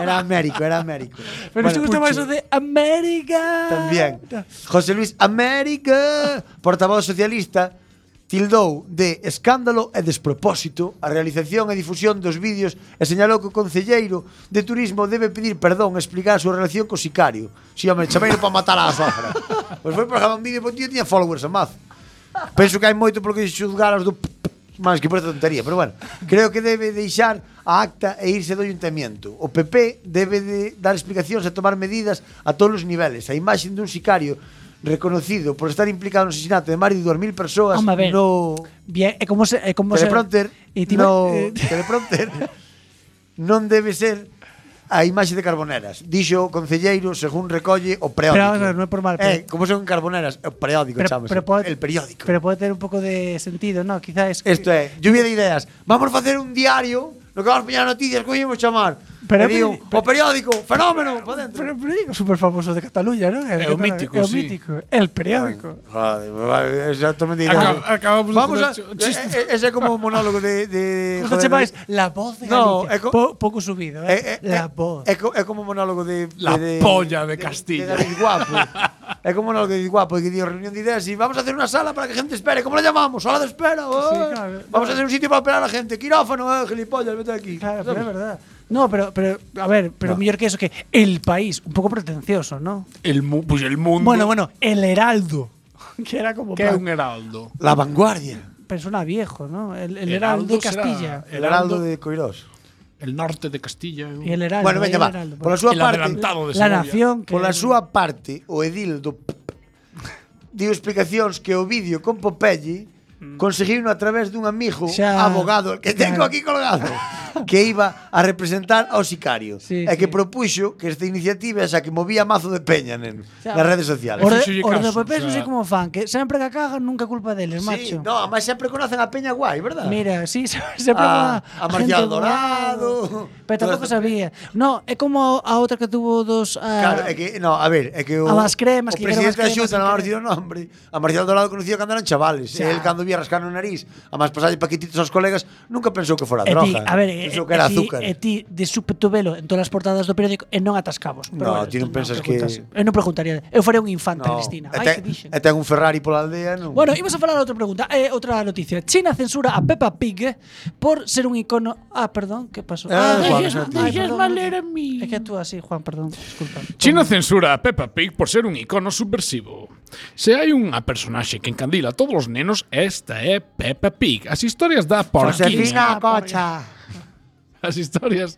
[SPEAKER 5] Era Américo, era Américo.
[SPEAKER 2] Pero
[SPEAKER 5] Bueno,
[SPEAKER 2] si gusta más
[SPEAKER 5] Pucho.
[SPEAKER 2] eso de América.
[SPEAKER 5] También. José Luis América, portavoz socialista, tildou de escándalo e despropósito a realización e difusión dos vídeos e señalou que o concelleiro de turismo debe pedir perdón e explicar a súa relación co sicario. Si, home, chameiro para matar a sofra. Pois foi para gravar un vídeo, porque tío tiña followers a mazo. Penso que hai moito por que xuzgar aos do p- p- máis que por esta tontería, pero bueno, creo que debe deixar a acta e irse do ayuntamiento. O PP debe de dar explicacións e tomar medidas a todos os niveles. A imaxe dun sicario reconocido por estar implicado no asesinato de máis de 2.000 persoas
[SPEAKER 6] Home, a ver.
[SPEAKER 5] no
[SPEAKER 6] Bien, é como se... É como se
[SPEAKER 5] teleprompter,
[SPEAKER 6] e ti-
[SPEAKER 5] no
[SPEAKER 6] eh,
[SPEAKER 5] teleprompter non debe ser a imaxe de Carboneras. Dixo o concelleiro según recolle o periódico.
[SPEAKER 6] Pero, a ver, non é por mal, pero-
[SPEAKER 5] Eh, como son Carboneras, o periódico,
[SPEAKER 6] pero-
[SPEAKER 5] chámase.
[SPEAKER 6] pero pode-
[SPEAKER 5] eh. el periódico.
[SPEAKER 6] Pero pode ter un pouco de sentido, no? Quizás...
[SPEAKER 5] Esto é, lluvia de ideas. Vamos facer un diario, no que vamos poñer noticias, como íbamos chamar. Pero,
[SPEAKER 2] Pero é
[SPEAKER 5] digo,
[SPEAKER 2] mi-
[SPEAKER 5] o periódico, fenómeno, pa dentro.
[SPEAKER 2] Pero, pero digo, súper famoso de Cataluña, ¿no?
[SPEAKER 8] É o mítico,
[SPEAKER 2] é o
[SPEAKER 8] sí.
[SPEAKER 2] mítico. El periódico.
[SPEAKER 5] Joder, vale, exactamente igual.
[SPEAKER 8] Acab- acabamos de
[SPEAKER 5] Vamos a,
[SPEAKER 8] hacer un
[SPEAKER 5] e-
[SPEAKER 8] chiste.
[SPEAKER 5] e- ese é como un monólogo de... de joder,
[SPEAKER 2] José Chemais, la voz de
[SPEAKER 5] No,
[SPEAKER 2] Galicia.
[SPEAKER 5] é co-
[SPEAKER 2] Po- pouco subido,
[SPEAKER 5] é,
[SPEAKER 2] eh?
[SPEAKER 5] é,
[SPEAKER 2] la
[SPEAKER 5] é-
[SPEAKER 2] voz.
[SPEAKER 5] É, co- é como un monólogo de... de-
[SPEAKER 8] La
[SPEAKER 5] de-
[SPEAKER 8] polla de Castilla.
[SPEAKER 5] De, David Guapo. é como un monólogo de David Guapo, que dio reunión de ideas y vamos a hacer una sala para que gente espere. ¿Cómo la llamamos? Sala de espera. oh.
[SPEAKER 2] claro.
[SPEAKER 5] Vamos a hacer un sitio para operar a la gente. Quirófano, eh, gilipollas, vete de aquí.
[SPEAKER 2] Claro, pero
[SPEAKER 5] ¿Sabes?
[SPEAKER 2] es verdad. No, pero, pero a ver, pero mejor que eso, que el país, un poco pretencioso, ¿no?
[SPEAKER 8] El, mu- pues el mundo.
[SPEAKER 2] Bueno, bueno, el heraldo, que era como
[SPEAKER 8] Que é
[SPEAKER 2] plan-
[SPEAKER 8] un heraldo.
[SPEAKER 5] La vanguardia.
[SPEAKER 2] pero suena viejo, ¿no? El, el heraldo de
[SPEAKER 8] será-
[SPEAKER 2] Castilla.
[SPEAKER 5] El heraldo de Coirós.
[SPEAKER 8] El norte de Castilla.
[SPEAKER 2] Y el heraldo.
[SPEAKER 5] Mm. Bueno,
[SPEAKER 2] y
[SPEAKER 5] veña,
[SPEAKER 2] el
[SPEAKER 5] va.
[SPEAKER 2] heraldo,
[SPEAKER 5] Pola
[SPEAKER 2] por-
[SPEAKER 5] súa
[SPEAKER 8] El
[SPEAKER 5] parte,
[SPEAKER 8] adelantado de
[SPEAKER 2] la
[SPEAKER 8] Segovia.
[SPEAKER 2] nación que
[SPEAKER 5] pola súa parte, o edil do P- dio explicacións que o vídeo con Popeye
[SPEAKER 8] Mm.
[SPEAKER 5] conseguiuno a través dun amigo
[SPEAKER 2] Xa,
[SPEAKER 5] abogado que tengo
[SPEAKER 2] claro.
[SPEAKER 5] aquí colgado que iba a representar ao sicario
[SPEAKER 2] Sí,
[SPEAKER 5] e que
[SPEAKER 2] sí.
[SPEAKER 5] propuxo que esta iniciativa xa que movía mazo de peña nen,
[SPEAKER 2] Xa.
[SPEAKER 5] nas redes sociales
[SPEAKER 2] Os de,
[SPEAKER 8] Fíxolle
[SPEAKER 2] os de
[SPEAKER 8] caso,
[SPEAKER 2] PP non
[SPEAKER 8] o sea.
[SPEAKER 2] sei como fan, que sempre que cagan nunca é culpa deles,
[SPEAKER 5] sí,
[SPEAKER 2] macho.
[SPEAKER 5] no, además sempre conocen a peña guai, verdad?
[SPEAKER 2] Mira, sí, se
[SPEAKER 5] a,
[SPEAKER 2] se probaba
[SPEAKER 5] a Marcial
[SPEAKER 2] gente
[SPEAKER 5] Dorado
[SPEAKER 2] guau. Pero tampouco sabía. No, é como a outra que tuvo dos... ah,
[SPEAKER 5] Claro, é que, no, a ver, é que o,
[SPEAKER 2] A las cremas,
[SPEAKER 5] o
[SPEAKER 2] que
[SPEAKER 5] presidente
[SPEAKER 2] quero as
[SPEAKER 5] da Xunta
[SPEAKER 2] cremas,
[SPEAKER 5] non
[SPEAKER 2] que
[SPEAKER 5] haber sido nombre. A Marcial Dorado conocido cando eran chavales.
[SPEAKER 2] Xa.
[SPEAKER 5] Xa. El cando vía rascar no nariz, a máis pasarlle paquetitos aos colegas, nunca pensou que fora
[SPEAKER 2] E ti,
[SPEAKER 5] droga.
[SPEAKER 2] a ver, e,
[SPEAKER 5] pensou que era
[SPEAKER 2] e ti-
[SPEAKER 5] azúcar.
[SPEAKER 2] E ti de súpeto velo en todas as portadas do periódico e non atascabos. Pero
[SPEAKER 5] No,
[SPEAKER 2] bueno,
[SPEAKER 5] ti non
[SPEAKER 2] isto
[SPEAKER 5] pensas
[SPEAKER 2] preguntas.
[SPEAKER 5] que-
[SPEAKER 2] Eu non preguntaría. Eu faría un infante,
[SPEAKER 5] No.
[SPEAKER 2] Cristina.
[SPEAKER 5] E
[SPEAKER 2] Ai,
[SPEAKER 5] ten-
[SPEAKER 2] que dixen.
[SPEAKER 5] E ten un Ferrari pola aldea, non?
[SPEAKER 2] Bueno, imos a falar outra pregunta, eh, outra noticia. China censura a Peppa Pig por ser un icono. Ah, perdón, que pasou?
[SPEAKER 5] Ah, Juan, xa
[SPEAKER 2] deixas-
[SPEAKER 11] te- deixas
[SPEAKER 2] perdón,
[SPEAKER 11] valer
[SPEAKER 2] non-
[SPEAKER 11] a mí.
[SPEAKER 2] É que actúa así, Juan, perdón, disculpa.
[SPEAKER 8] China censura a Peppa Pig por ser un icono subversivo. Se hai unha personaxe que encandila a todos os nenos, esta é Peppa Pig. As historias da porquiña...
[SPEAKER 5] Josefina Cocha.
[SPEAKER 8] As historias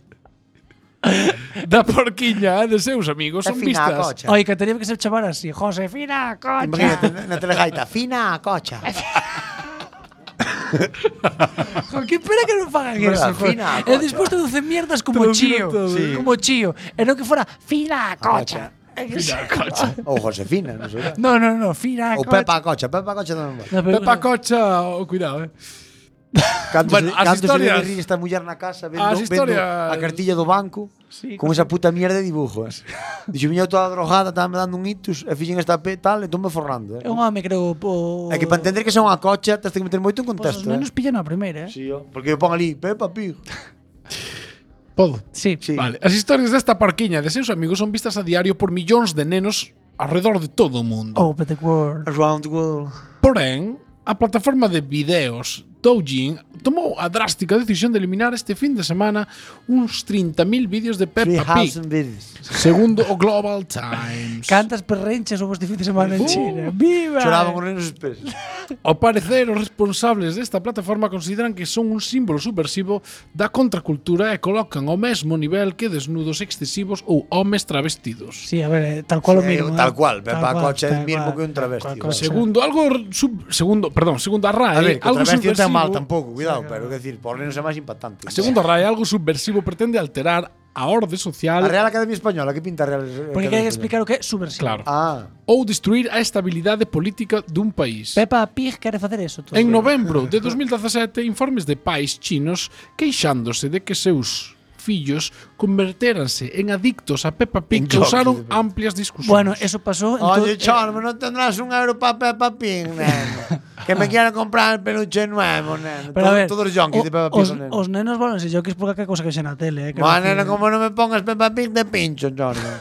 [SPEAKER 8] da porquiña e de seus amigos son
[SPEAKER 5] Josefina
[SPEAKER 8] vistas...
[SPEAKER 5] Cocha.
[SPEAKER 2] Oi, que teria que ser chamar así, Josefina
[SPEAKER 5] Imagínate,
[SPEAKER 2] Cocha.
[SPEAKER 5] na- na telegaita, fina cocha.
[SPEAKER 2] Jo, que espera que non fagan
[SPEAKER 5] Hombre,
[SPEAKER 2] eso. jo.
[SPEAKER 5] Fina
[SPEAKER 2] E
[SPEAKER 5] Cocha.
[SPEAKER 2] despois te dicen mierdas como chío,
[SPEAKER 5] Sí. Ah,
[SPEAKER 2] como chío. E non que fora Fina Cocha.
[SPEAKER 8] Fina Cocha.
[SPEAKER 5] Ou Josefina, non sei.
[SPEAKER 2] No, no, no, Fina
[SPEAKER 5] Ou
[SPEAKER 2] Cocha.
[SPEAKER 5] Pepa Cocha, Pepa Cocha non vai.
[SPEAKER 2] No, pero-
[SPEAKER 8] Peppa Cocha, oh, cuidado, eh.
[SPEAKER 5] Canto
[SPEAKER 8] Bueno,
[SPEAKER 5] se,
[SPEAKER 8] as
[SPEAKER 5] canto
[SPEAKER 8] historias-
[SPEAKER 5] se debe rir esta muller na casa vendo,
[SPEAKER 8] As
[SPEAKER 5] vendo
[SPEAKER 8] historias-
[SPEAKER 5] a cartilla do banco
[SPEAKER 2] Sí,
[SPEAKER 5] con esa puta mierda de dibujos. Dixo, viña toda drogada, estaba me dando un itus e fixen esta pe tal e tome forrando. Eh.
[SPEAKER 2] É un home, creo, po...
[SPEAKER 5] É que para entender que son unha cocha, tens que meter moito en
[SPEAKER 2] Pois os
[SPEAKER 5] contexto. Eh.
[SPEAKER 2] nenos pillan a primeira, eh?
[SPEAKER 5] Sí, ó, porque eu pon ali Peppa Pig.
[SPEAKER 8] Podo.
[SPEAKER 2] Sí.
[SPEAKER 5] Sí.
[SPEAKER 8] Vale. As historias desta parquiña e de seus amigos son vistas a diario por millóns de nenos alrededor de todo o mundo.
[SPEAKER 2] Open the world.
[SPEAKER 5] Around the world.
[SPEAKER 8] Porén, a plataforma de videos Douyin tomou a drástica decisión de eliminar este fin de semana uns 30.000 vídeos de Peppa Pig,
[SPEAKER 5] 3,000 vídeos.
[SPEAKER 8] segundo o Global Times.
[SPEAKER 6] Cantas perrenches houve este fin de semana en
[SPEAKER 8] Uh.
[SPEAKER 6] China. Viva!
[SPEAKER 5] Choraban os nenos os pés.
[SPEAKER 8] Ao parecer, os responsables desta plataforma consideran que son un símbolo subversivo da contracultura e colocan ao mesmo nivel que desnudos excesivos ou homes travestidos.
[SPEAKER 6] Sí, a ver, eh, tal cual o
[SPEAKER 5] Sí,
[SPEAKER 6] mismo.
[SPEAKER 5] tal
[SPEAKER 6] eh.
[SPEAKER 5] cual, Peppa
[SPEAKER 6] cual,
[SPEAKER 5] Cocha é
[SPEAKER 6] tal
[SPEAKER 5] mismo
[SPEAKER 6] cual,
[SPEAKER 5] que un
[SPEAKER 6] tal
[SPEAKER 5] travesti,
[SPEAKER 6] cual,
[SPEAKER 5] vale.
[SPEAKER 6] cual, sí.
[SPEAKER 8] Segundo, algo sub, segundo, perdón, segundo a RAE,
[SPEAKER 5] A ver, que o
[SPEAKER 8] Ah, eh, algo
[SPEAKER 5] travesti non ten
[SPEAKER 8] subversivo.
[SPEAKER 5] mal tampouco, cuidado, pero quer decir, por nenos é máis impactante.
[SPEAKER 8] Segundo a RAE, algo subversivo pretende alterar a orde
[SPEAKER 5] A
[SPEAKER 8] social
[SPEAKER 5] Real Academia Española, eh, que pinta a Real Academia
[SPEAKER 6] Porque hai
[SPEAKER 5] Española?
[SPEAKER 6] que explicar o que é subversivo.
[SPEAKER 8] Claro.
[SPEAKER 5] Ah,
[SPEAKER 8] ou destruir a estabilidade política dun país.
[SPEAKER 6] Peppa Pig quere facer eso. todo.
[SPEAKER 8] En novembro de 2017, informes de pais chinos queixándose de que seus fillos convertéranse en adictos a Peppa Pig
[SPEAKER 5] En
[SPEAKER 8] causaron
[SPEAKER 5] jockey, de-
[SPEAKER 8] amplias discusións.
[SPEAKER 6] Bueno, eso pasó en todo-
[SPEAKER 5] Oye, Chormo, non tendrás un euro pa Peppa Pig, neno. que me quero comprar el peluche nuevo, neno.
[SPEAKER 6] Pero a
[SPEAKER 5] Todo-
[SPEAKER 6] ver,
[SPEAKER 5] Todos os yonkis
[SPEAKER 6] o-
[SPEAKER 5] de Peppa Pig,
[SPEAKER 6] os,
[SPEAKER 5] neno.
[SPEAKER 6] os nenos volanse jockeys por calquera cosa que xe na tele, eh, quero
[SPEAKER 5] Bueno,
[SPEAKER 6] decir.
[SPEAKER 5] neno, como non me pongas Peppa Pig, te pincho, Chormo.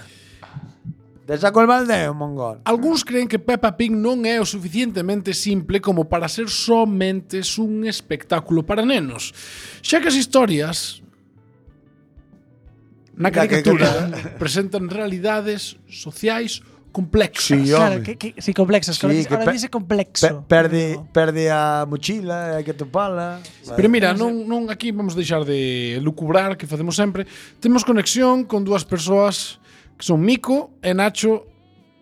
[SPEAKER 5] te saco el baldeo, mongol.
[SPEAKER 8] Alguns creen que Peppa Pig non é o suficientemente simple como para ser somente un espectáculo para nenos. Xa que as historias
[SPEAKER 5] Da
[SPEAKER 8] na
[SPEAKER 5] que-
[SPEAKER 8] caricatura presentan realidades sociais complexas.
[SPEAKER 5] Sí, home.
[SPEAKER 6] Claro, que, que, si complexas,
[SPEAKER 5] Sí,
[SPEAKER 6] claro,
[SPEAKER 5] que
[SPEAKER 6] ahora
[SPEAKER 5] pe-
[SPEAKER 6] dice
[SPEAKER 5] Pe
[SPEAKER 6] complexo.
[SPEAKER 5] perde, perde a mochila, hai que topala.
[SPEAKER 8] Pero mira, non, non aquí vamos deixar de lucubrar que facemos sempre. Temos conexión con dúas persoas que son Mico e Nacho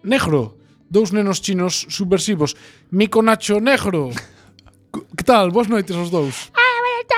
[SPEAKER 8] Negro, dous nenos chinos subversivos. Mico Nacho Negro. Co- Que tal? Boas noites os dous.
[SPEAKER 10] Ah,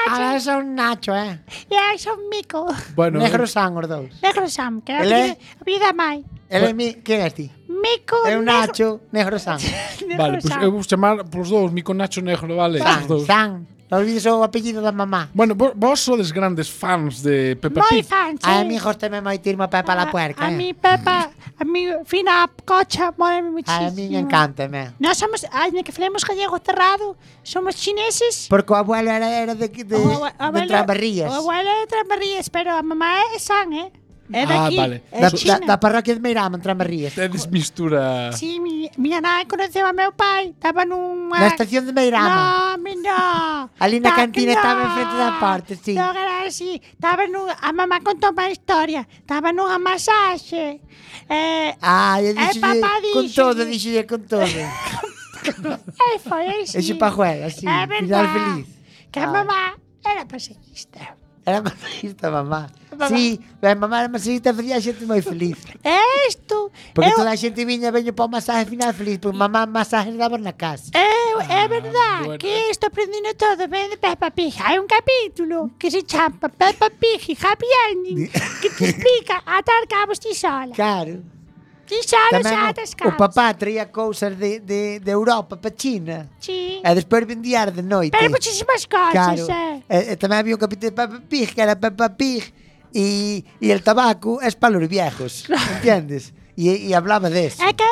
[SPEAKER 10] Ahora
[SPEAKER 5] é Ah, un Nacho, eh.
[SPEAKER 10] E son mico.
[SPEAKER 8] Bueno,
[SPEAKER 5] san os dous.
[SPEAKER 10] Negro Sam, que
[SPEAKER 5] Ele é-
[SPEAKER 10] era a vida mai.
[SPEAKER 5] El é mi, quen é ti?
[SPEAKER 10] Mico.
[SPEAKER 5] negro san.
[SPEAKER 10] negro,
[SPEAKER 8] vale, pues,
[SPEAKER 10] negro
[SPEAKER 8] eh, pois
[SPEAKER 10] Sam.
[SPEAKER 8] eu vou chamar polos dous, Mico Nacho Negro, vale, os dous.
[SPEAKER 5] san. Non olvides o apellido da mamá.
[SPEAKER 8] Bueno, vo- vos sodes grandes fans de Peppa
[SPEAKER 10] Moi
[SPEAKER 8] Pig.
[SPEAKER 10] fan, sí.
[SPEAKER 5] gosteme moi tirmo a Pepa
[SPEAKER 10] A mi Pepa, a mi fina cocha, mola muchísimo.
[SPEAKER 5] encántame.
[SPEAKER 10] No somos, ay, ni que falemos gallego cerrado, somos chineses.
[SPEAKER 5] Porque o abuelo era, era de, de,
[SPEAKER 10] O abue-
[SPEAKER 5] de Trambarrías.
[SPEAKER 10] O abuelo de Trambarrías, pero a mamá é san, eh? É
[SPEAKER 8] Ah,
[SPEAKER 10] daqui,
[SPEAKER 8] vale.
[SPEAKER 10] é de
[SPEAKER 5] Da, da,
[SPEAKER 10] China.
[SPEAKER 5] da parroquia de Meirama, en Trambarrías.
[SPEAKER 8] Tedes mistura.
[SPEAKER 10] Sí, mi, miña nai conoceu a meu pai, estaba nunha...
[SPEAKER 5] Na estación de
[SPEAKER 10] No,
[SPEAKER 5] Meirama.
[SPEAKER 10] mi no.
[SPEAKER 5] Ali na
[SPEAKER 10] Ta-
[SPEAKER 5] cantina
[SPEAKER 10] no.
[SPEAKER 5] estaba enfrente da parte, sí.
[SPEAKER 10] Non era así. Estaba nun... A mamá contou má historia. Estaba nunha masaxe. Eh,
[SPEAKER 5] Ah, eu
[SPEAKER 10] Eh,
[SPEAKER 5] dixolle,
[SPEAKER 10] papá,
[SPEAKER 5] con
[SPEAKER 10] díxolle.
[SPEAKER 5] todo, dixolle con todo.
[SPEAKER 10] e foi así.
[SPEAKER 5] Ese pajuel, así,
[SPEAKER 10] É
[SPEAKER 5] final
[SPEAKER 10] verdad.
[SPEAKER 5] feliz. Ah.
[SPEAKER 10] Que a
[SPEAKER 5] Ai.
[SPEAKER 10] mamá era paseísta.
[SPEAKER 5] Era masajista, mamá.
[SPEAKER 10] Mamá.
[SPEAKER 5] Sí, a mamá era masajista, facía a xente moi feliz.
[SPEAKER 10] E isto...
[SPEAKER 5] Porque
[SPEAKER 10] eu-
[SPEAKER 5] toda a xente viña, veño para o masaje final feliz, porque mamá masaje daba na
[SPEAKER 10] Eh,
[SPEAKER 5] casa.
[SPEAKER 10] Eu,
[SPEAKER 5] Ah,
[SPEAKER 10] é verdade
[SPEAKER 8] bueno.
[SPEAKER 10] que estou aprendendo todo bem de Peppa Pig. Hai un capítulo que se chama Peppa Pig Happy Ending que te explica atar cabos ti sola.
[SPEAKER 5] Claro.
[SPEAKER 10] Ti sola
[SPEAKER 5] Tamén
[SPEAKER 10] xa
[SPEAKER 5] o,
[SPEAKER 10] atas
[SPEAKER 5] o
[SPEAKER 10] cabos.
[SPEAKER 5] papá traía cousas de, de, de Europa para China.
[SPEAKER 10] Sí.
[SPEAKER 5] E despois vendíar de noite.
[SPEAKER 10] Pero muchísimas cousas,
[SPEAKER 5] Claro.
[SPEAKER 10] eh.
[SPEAKER 5] E, e tamén había un capítulo de Peppa Pig que era Peppa Pig e, e el tabaco es para los viejos, entiendes? E, e hablaba deso.
[SPEAKER 10] É que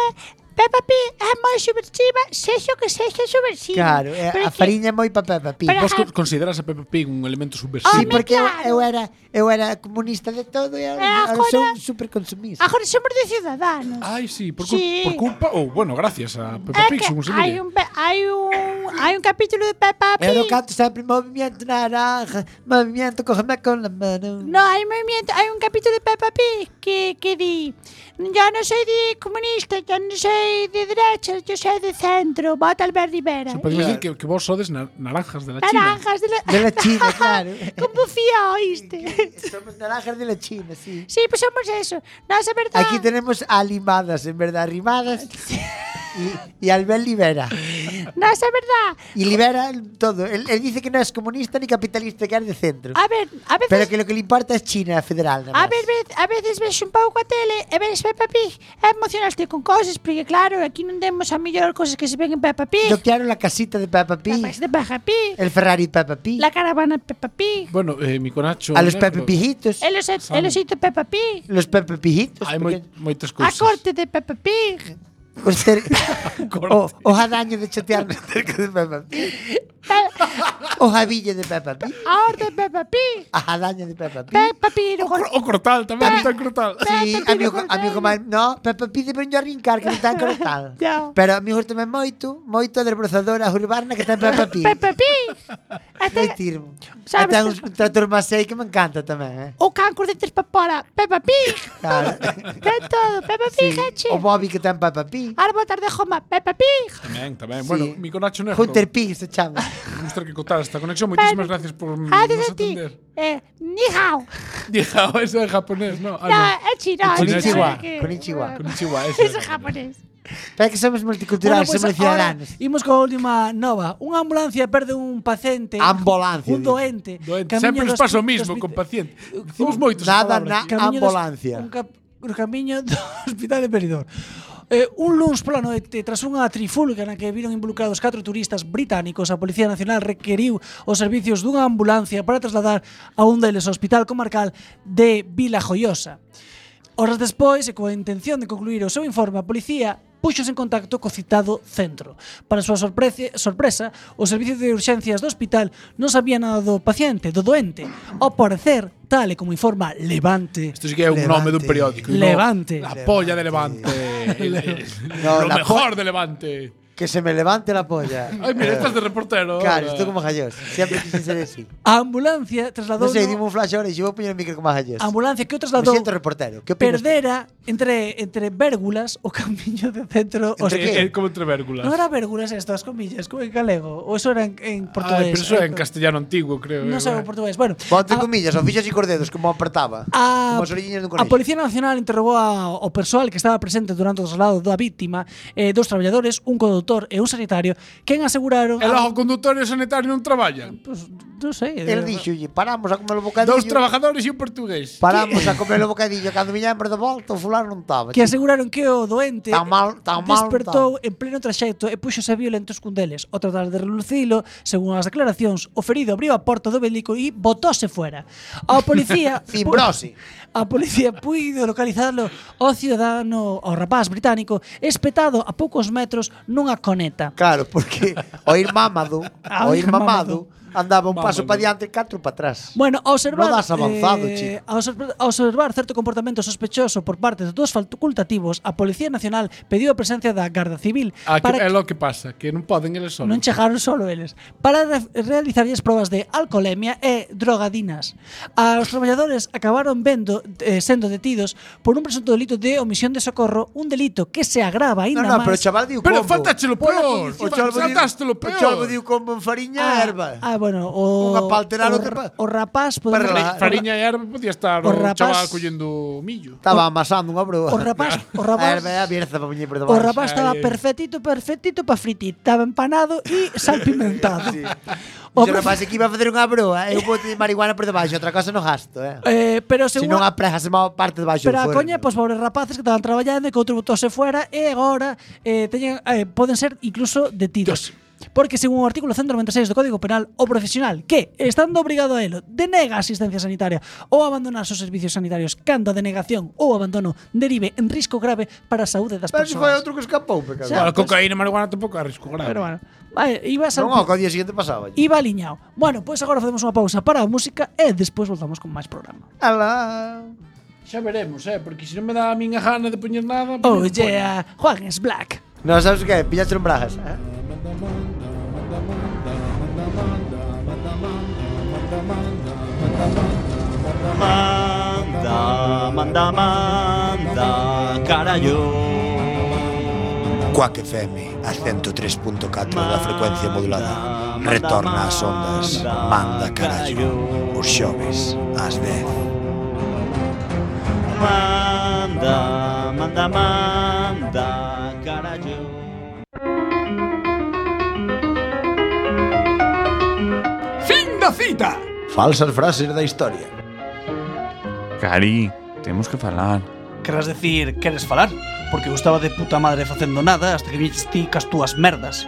[SPEAKER 10] Peppa Pig é moi subversiva, sexa o que sexa subversiva.
[SPEAKER 5] Claro, e
[SPEAKER 10] Pero
[SPEAKER 5] a
[SPEAKER 10] é que-
[SPEAKER 5] fariña é moi para Peppa Pig.
[SPEAKER 10] Pero-
[SPEAKER 8] Vos co- consideras a Peppa Pig un elemento
[SPEAKER 5] Sí,
[SPEAKER 8] subversivo?
[SPEAKER 10] Home,
[SPEAKER 5] porque eu-
[SPEAKER 10] claro.
[SPEAKER 5] eu, era eu era comunista de todo e ahora,
[SPEAKER 10] Eh,
[SPEAKER 5] ahora
[SPEAKER 10] agora-
[SPEAKER 5] son superconsumista.
[SPEAKER 10] Agora somos de ciudadanos.
[SPEAKER 8] Ai, sí, por, cul-
[SPEAKER 10] Sí.
[SPEAKER 8] por culpa ou, bueno, gracias a
[SPEAKER 10] É
[SPEAKER 8] Peppa Pig,
[SPEAKER 10] que
[SPEAKER 8] según se
[SPEAKER 10] hai
[SPEAKER 8] mire.
[SPEAKER 10] un, pe- hai un, hai un capítulo de Peppa Pig.
[SPEAKER 5] Pero canto sempre movimiento naranja, movimiento cógeme con la mano.
[SPEAKER 10] No, hay movimiento, hay un capítulo de Peppa Pig que, que di, yo no soy de comunista, yo no soy de derecha, yo soy de centro, vota Albert Rivera.
[SPEAKER 8] Se podemos decir que, que vos sodes na- naranjas de la China.
[SPEAKER 10] Naranjas de la...
[SPEAKER 5] De la China, claro.
[SPEAKER 10] Como fía, oíste.
[SPEAKER 5] Somos naranjas de la China, sí.
[SPEAKER 10] Sí, pues somos eso. No, es verdad.
[SPEAKER 5] Aquí tenemos a limadas, en verdad, rimadas. Y, y Albert Libera.
[SPEAKER 10] No, es verdad.
[SPEAKER 5] Y libera el- todo. Él, él dice que no es comunista ni capitalista, que es de centro.
[SPEAKER 10] A ver, a veces...
[SPEAKER 5] Pero que lo que le importa es China federal. nada
[SPEAKER 10] A,
[SPEAKER 5] más.
[SPEAKER 10] ver, ve- a veces ves un pouco a tele e ves Peppa Pig e emocionaste con cosas, porque claro, aquí non temos a mellor cosas que se ven en Peppa Pig.
[SPEAKER 5] Yo quiero la casita de Peppa
[SPEAKER 10] La
[SPEAKER 5] Pig,
[SPEAKER 10] casa de Peppa Pig,
[SPEAKER 5] el Ferrari de Peppa Pig,
[SPEAKER 10] la caravana de Peppa Pig,
[SPEAKER 8] Bueno, eh, mi conacho...
[SPEAKER 5] a los Peppa
[SPEAKER 8] negro,
[SPEAKER 5] Pijitos,
[SPEAKER 11] é
[SPEAKER 10] el osi- el osito Peppa Pig.
[SPEAKER 5] los Peppa Pijitos.
[SPEAKER 8] Hai
[SPEAKER 5] porque-
[SPEAKER 8] moi, moitas
[SPEAKER 10] A
[SPEAKER 8] cousas.
[SPEAKER 10] corte de Peppa Pig.
[SPEAKER 5] Os ter... o, o adaño Oh, de chatear nas cercas de Peppa Pig. o jabille Oh, de Peppa Pig.
[SPEAKER 11] Tá? A orde Peppa Pig.
[SPEAKER 5] A jadaña de Peppa Pig.
[SPEAKER 11] Peppa Pig. no
[SPEAKER 8] O Oh, cortal tamén, está en cortal.
[SPEAKER 5] Sí,
[SPEAKER 11] Peppa
[SPEAKER 5] a
[SPEAKER 11] Pig no
[SPEAKER 5] mi, ojo- a mi
[SPEAKER 11] cortáis.
[SPEAKER 5] ojo máis... No, Peppa Pig deben yo arrincar que non está cortado.
[SPEAKER 11] Ya.
[SPEAKER 5] Pero a mi ojo tamén moito, moito a desbrozadora urbana que está en Peppa Pig.
[SPEAKER 11] Peppa Pig. Hasta
[SPEAKER 5] Moi tirmo.
[SPEAKER 11] Sabes-
[SPEAKER 5] Até un trator macei que me encanta tamén, eh.
[SPEAKER 11] o cancro de tres papora. Peppa Pig.
[SPEAKER 5] Claro.
[SPEAKER 11] Ten todo. Peppa Pig, eche.
[SPEAKER 5] O Bobby que está en Peppa Pig.
[SPEAKER 11] Árbol tarde joma. Peppa Pig.
[SPEAKER 8] Tamén, tamén.
[SPEAKER 5] Sí.
[SPEAKER 8] Bueno, mi conacho negro.
[SPEAKER 5] Hunter Pig se chama.
[SPEAKER 8] Vamos ter que cortar esta conexión. Moitísimas gracias por nos
[SPEAKER 11] Adiós a ti.
[SPEAKER 8] atender.
[SPEAKER 11] Eh, ni hao.
[SPEAKER 8] Dija, eso é japonés,
[SPEAKER 11] No,
[SPEAKER 8] no? Ah,
[SPEAKER 11] é chino.
[SPEAKER 8] Konnichiwa,
[SPEAKER 5] konnichiwa.
[SPEAKER 8] no. Konnichiwa, eso.
[SPEAKER 11] Eso es japonés.
[SPEAKER 5] Pero é que somos
[SPEAKER 6] Bueno,
[SPEAKER 5] multiculturales,
[SPEAKER 6] pois
[SPEAKER 5] somos
[SPEAKER 6] ahora
[SPEAKER 5] ciudadanos.
[SPEAKER 6] imos coa última nova. Unha ambulancia perde un paciente,
[SPEAKER 5] Ambulancia,
[SPEAKER 6] un
[SPEAKER 5] dice.
[SPEAKER 6] doente.
[SPEAKER 8] Doente. Sempre
[SPEAKER 6] camiño
[SPEAKER 8] nos
[SPEAKER 6] do
[SPEAKER 8] pasa o
[SPEAKER 6] hospi-
[SPEAKER 8] mismo
[SPEAKER 6] do
[SPEAKER 8] con
[SPEAKER 6] hospi-
[SPEAKER 8] paciente. Dicimos moitos
[SPEAKER 5] Nada
[SPEAKER 8] palabras.
[SPEAKER 5] na
[SPEAKER 6] camiño do-
[SPEAKER 5] ambulancia.
[SPEAKER 6] Un cap, un camiño do hospital de Peridor. Eh, un luns pola noite, tras unha trifulga na que viron involucrados catro turistas británicos, a Policía Nacional requeriu os servicios dunha ambulancia para trasladar a un deles ao Hospital Comarcal de Vila Joiosa. Horas despois, e coa intención de concluir o seu informe, a policía puxose en contacto co citado centro. Para a súa sorprece, sorpresa, o servicio de urxencias do hospital non sabía nada do paciente, do doente. Ao parecer, tal e como informa Levante,
[SPEAKER 8] Isto sí que é un nome dun
[SPEAKER 5] Levante.
[SPEAKER 8] periódico. y no
[SPEAKER 6] Levante.
[SPEAKER 8] La polla de Levante. El-
[SPEAKER 5] No,
[SPEAKER 8] Lo
[SPEAKER 5] la
[SPEAKER 8] mejor de Levante.
[SPEAKER 5] Que se me levante la polla.
[SPEAKER 8] Ay, mira, estás de reportero.
[SPEAKER 5] Claro,
[SPEAKER 8] ahora.
[SPEAKER 5] estou como Jallós. Sempre quise ser así.
[SPEAKER 6] a ambulancia trasladou
[SPEAKER 5] Non sei, dime un flash ahora e xe vou poñer o micro como a Jallós.
[SPEAKER 6] a ambulancia que
[SPEAKER 5] Me
[SPEAKER 6] o trasladou
[SPEAKER 5] siento reportero. Que opinas?
[SPEAKER 6] perdera entre entre vérgulas o camiño de centro
[SPEAKER 5] Entre
[SPEAKER 8] Eh,
[SPEAKER 5] ¿Qué?
[SPEAKER 8] eh, como entre vérgulas.
[SPEAKER 6] Non era vérgulas estas comillas, como en galego, ou eso era en, en portugués.
[SPEAKER 8] Ay,
[SPEAKER 6] eh.
[SPEAKER 8] pero eso é en castellano antiguo, creo. eh,
[SPEAKER 6] Non sei o
[SPEAKER 8] bueno.
[SPEAKER 6] portugués. Bueno, ah,
[SPEAKER 5] Ponte
[SPEAKER 6] a-
[SPEAKER 5] comillas, o fixas e cos dedos, como apertaba.
[SPEAKER 6] A,
[SPEAKER 5] como as orelliñas dun
[SPEAKER 6] a
[SPEAKER 5] conejo.
[SPEAKER 6] Policía Nacional interrogou a, o persoal que estaba presente durante o traslado da vítima, eh, dos traballadores, un condutor e un sanitario, quen aseguraron...
[SPEAKER 8] El ojo conductorio sanitario non traballa.
[SPEAKER 6] Pues, non sei.
[SPEAKER 5] El
[SPEAKER 6] eh,
[SPEAKER 5] dixolle, paramos a comer o bocadillo.
[SPEAKER 8] Dos trabajadores e un portugués.
[SPEAKER 5] Paramos a comer o bocadillo. Cando viñamos de volta, o fulano non estaba.
[SPEAKER 6] que aseguraron que o doente
[SPEAKER 5] Tan mal- tan mal,
[SPEAKER 6] despertou en pleno traxecto e puxose violentos cun deles. Ao tratar de relucilo, según as declaracións, o ferido abriu a porta do vehículo e botóse fuera. A policía...
[SPEAKER 5] Fimbrose.
[SPEAKER 6] A policía puido localizarlo ao ciudadano, ao rapaz británico, espetado a poucos metros nunha coneta.
[SPEAKER 5] Claro, porque o ir mamado,
[SPEAKER 6] Ah,
[SPEAKER 5] o ir
[SPEAKER 6] ir mamado.
[SPEAKER 5] mamado, andaba un paso
[SPEAKER 8] Mamado.
[SPEAKER 5] para diante, catro para atrás.
[SPEAKER 6] Bueno, ao observar,
[SPEAKER 5] No das avanzado, chico.
[SPEAKER 6] ao observ- ao observar certo comportamento sospechoso por parte dos facultativos, a Policía Nacional pediu a presencia da Garda Civil
[SPEAKER 8] Ah, que,
[SPEAKER 6] para
[SPEAKER 8] é lo que pasa, que non poden eles solos.
[SPEAKER 6] non chegaron solo eles, para re realizarlles probas de alcolemia e drogadinas. Aos traballadores acabaron vendo eh, sendo detidos por un presunto delito de omisión de socorro, un delito que se
[SPEAKER 5] no,
[SPEAKER 6] agrava aínda
[SPEAKER 5] no,
[SPEAKER 6] máis.
[SPEAKER 5] pero o chaval diu
[SPEAKER 8] Pero
[SPEAKER 5] combo.
[SPEAKER 8] faltache lo peor.
[SPEAKER 5] O chalvo diu-
[SPEAKER 8] Saltaste lo
[SPEAKER 5] O chalvo
[SPEAKER 8] peor.
[SPEAKER 5] diu combo en fariña e
[SPEAKER 6] ah,
[SPEAKER 5] erva.
[SPEAKER 6] ah, bueno, o
[SPEAKER 5] Unha pa alterar o que pa-
[SPEAKER 6] o, o rapaz podemos,
[SPEAKER 5] Para relajar.
[SPEAKER 8] Fariña e erva podía estar
[SPEAKER 6] O
[SPEAKER 8] o,
[SPEAKER 6] rapaz- Oh.
[SPEAKER 8] chaval collendo millo.
[SPEAKER 5] Estaba amasando unha broa.
[SPEAKER 6] o rapaz, o
[SPEAKER 5] A
[SPEAKER 6] rapaz
[SPEAKER 5] erva é abierta para poñer por
[SPEAKER 6] O
[SPEAKER 5] debaixo.
[SPEAKER 6] rapaz estaba
[SPEAKER 8] Ay, ay.
[SPEAKER 6] perfectito, perfectito para fritir. Estaba empanado e salpimentado.
[SPEAKER 5] O
[SPEAKER 6] O profe-
[SPEAKER 5] rapaz aquí vai facer unha broa, eu bote de marihuana por debaixo, outra cosa no gasto, eh.
[SPEAKER 6] Eh, pero
[SPEAKER 5] Se
[SPEAKER 6] según
[SPEAKER 5] non aprejase má parte debaixo
[SPEAKER 6] Pero
[SPEAKER 5] do
[SPEAKER 6] a
[SPEAKER 5] forno.
[SPEAKER 6] coña, pois pobres rapaces que estaban traballando e que outro botose fuera e agora eh, teñen, eh, poden ser incluso detidos. Porque según o artículo 196 do Código Penal, o profesional que, estando obrigado a elo, denega a asistencia sanitaria ou abandonar os servicios sanitarios cando a denegación ou abandono derive en risco grave para a saúde das
[SPEAKER 5] Pero se foi
[SPEAKER 6] persoas.
[SPEAKER 5] outro que escapou, pecado.
[SPEAKER 6] Xa,
[SPEAKER 8] Claro,
[SPEAKER 6] pues-
[SPEAKER 8] cocaína e marihuana tampouco é risco grave.
[SPEAKER 6] Pero bueno, vai, iba a
[SPEAKER 5] Non,
[SPEAKER 6] salpi-
[SPEAKER 5] ao día seguinte pasaba.
[SPEAKER 6] Iba aliñado. Bueno, pues pois agora facemos unha pausa para a música e despois voltamos con máis programa.
[SPEAKER 5] Alá.
[SPEAKER 8] Xa veremos, eh, porque se non me dá a miña gana de poñer nada...
[SPEAKER 6] Oh
[SPEAKER 8] poñer-
[SPEAKER 6] yeah, Juan es Black.
[SPEAKER 5] Non sabes que, pillaste un bragas, eh.
[SPEAKER 12] Manda, manda, manda, carallo.
[SPEAKER 9] Quack FM, a 103.4 da frecuencia modulada.
[SPEAKER 12] Manda,
[SPEAKER 9] Retorna ás ondas,
[SPEAKER 12] manda,
[SPEAKER 9] manda carallo. Os xoves, ás 10.
[SPEAKER 6] ah,
[SPEAKER 12] Manda, manda, manda, carallo.
[SPEAKER 4] Fin da cita.
[SPEAKER 9] Falsas frases da historia.
[SPEAKER 13] Cari, temos que falar.
[SPEAKER 6] Querrás decir, queres falar? Porque eu estaba de puta madre facendo nada hasta que viches ti cas túas merdas.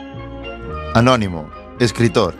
[SPEAKER 14] Anónimo, escritor.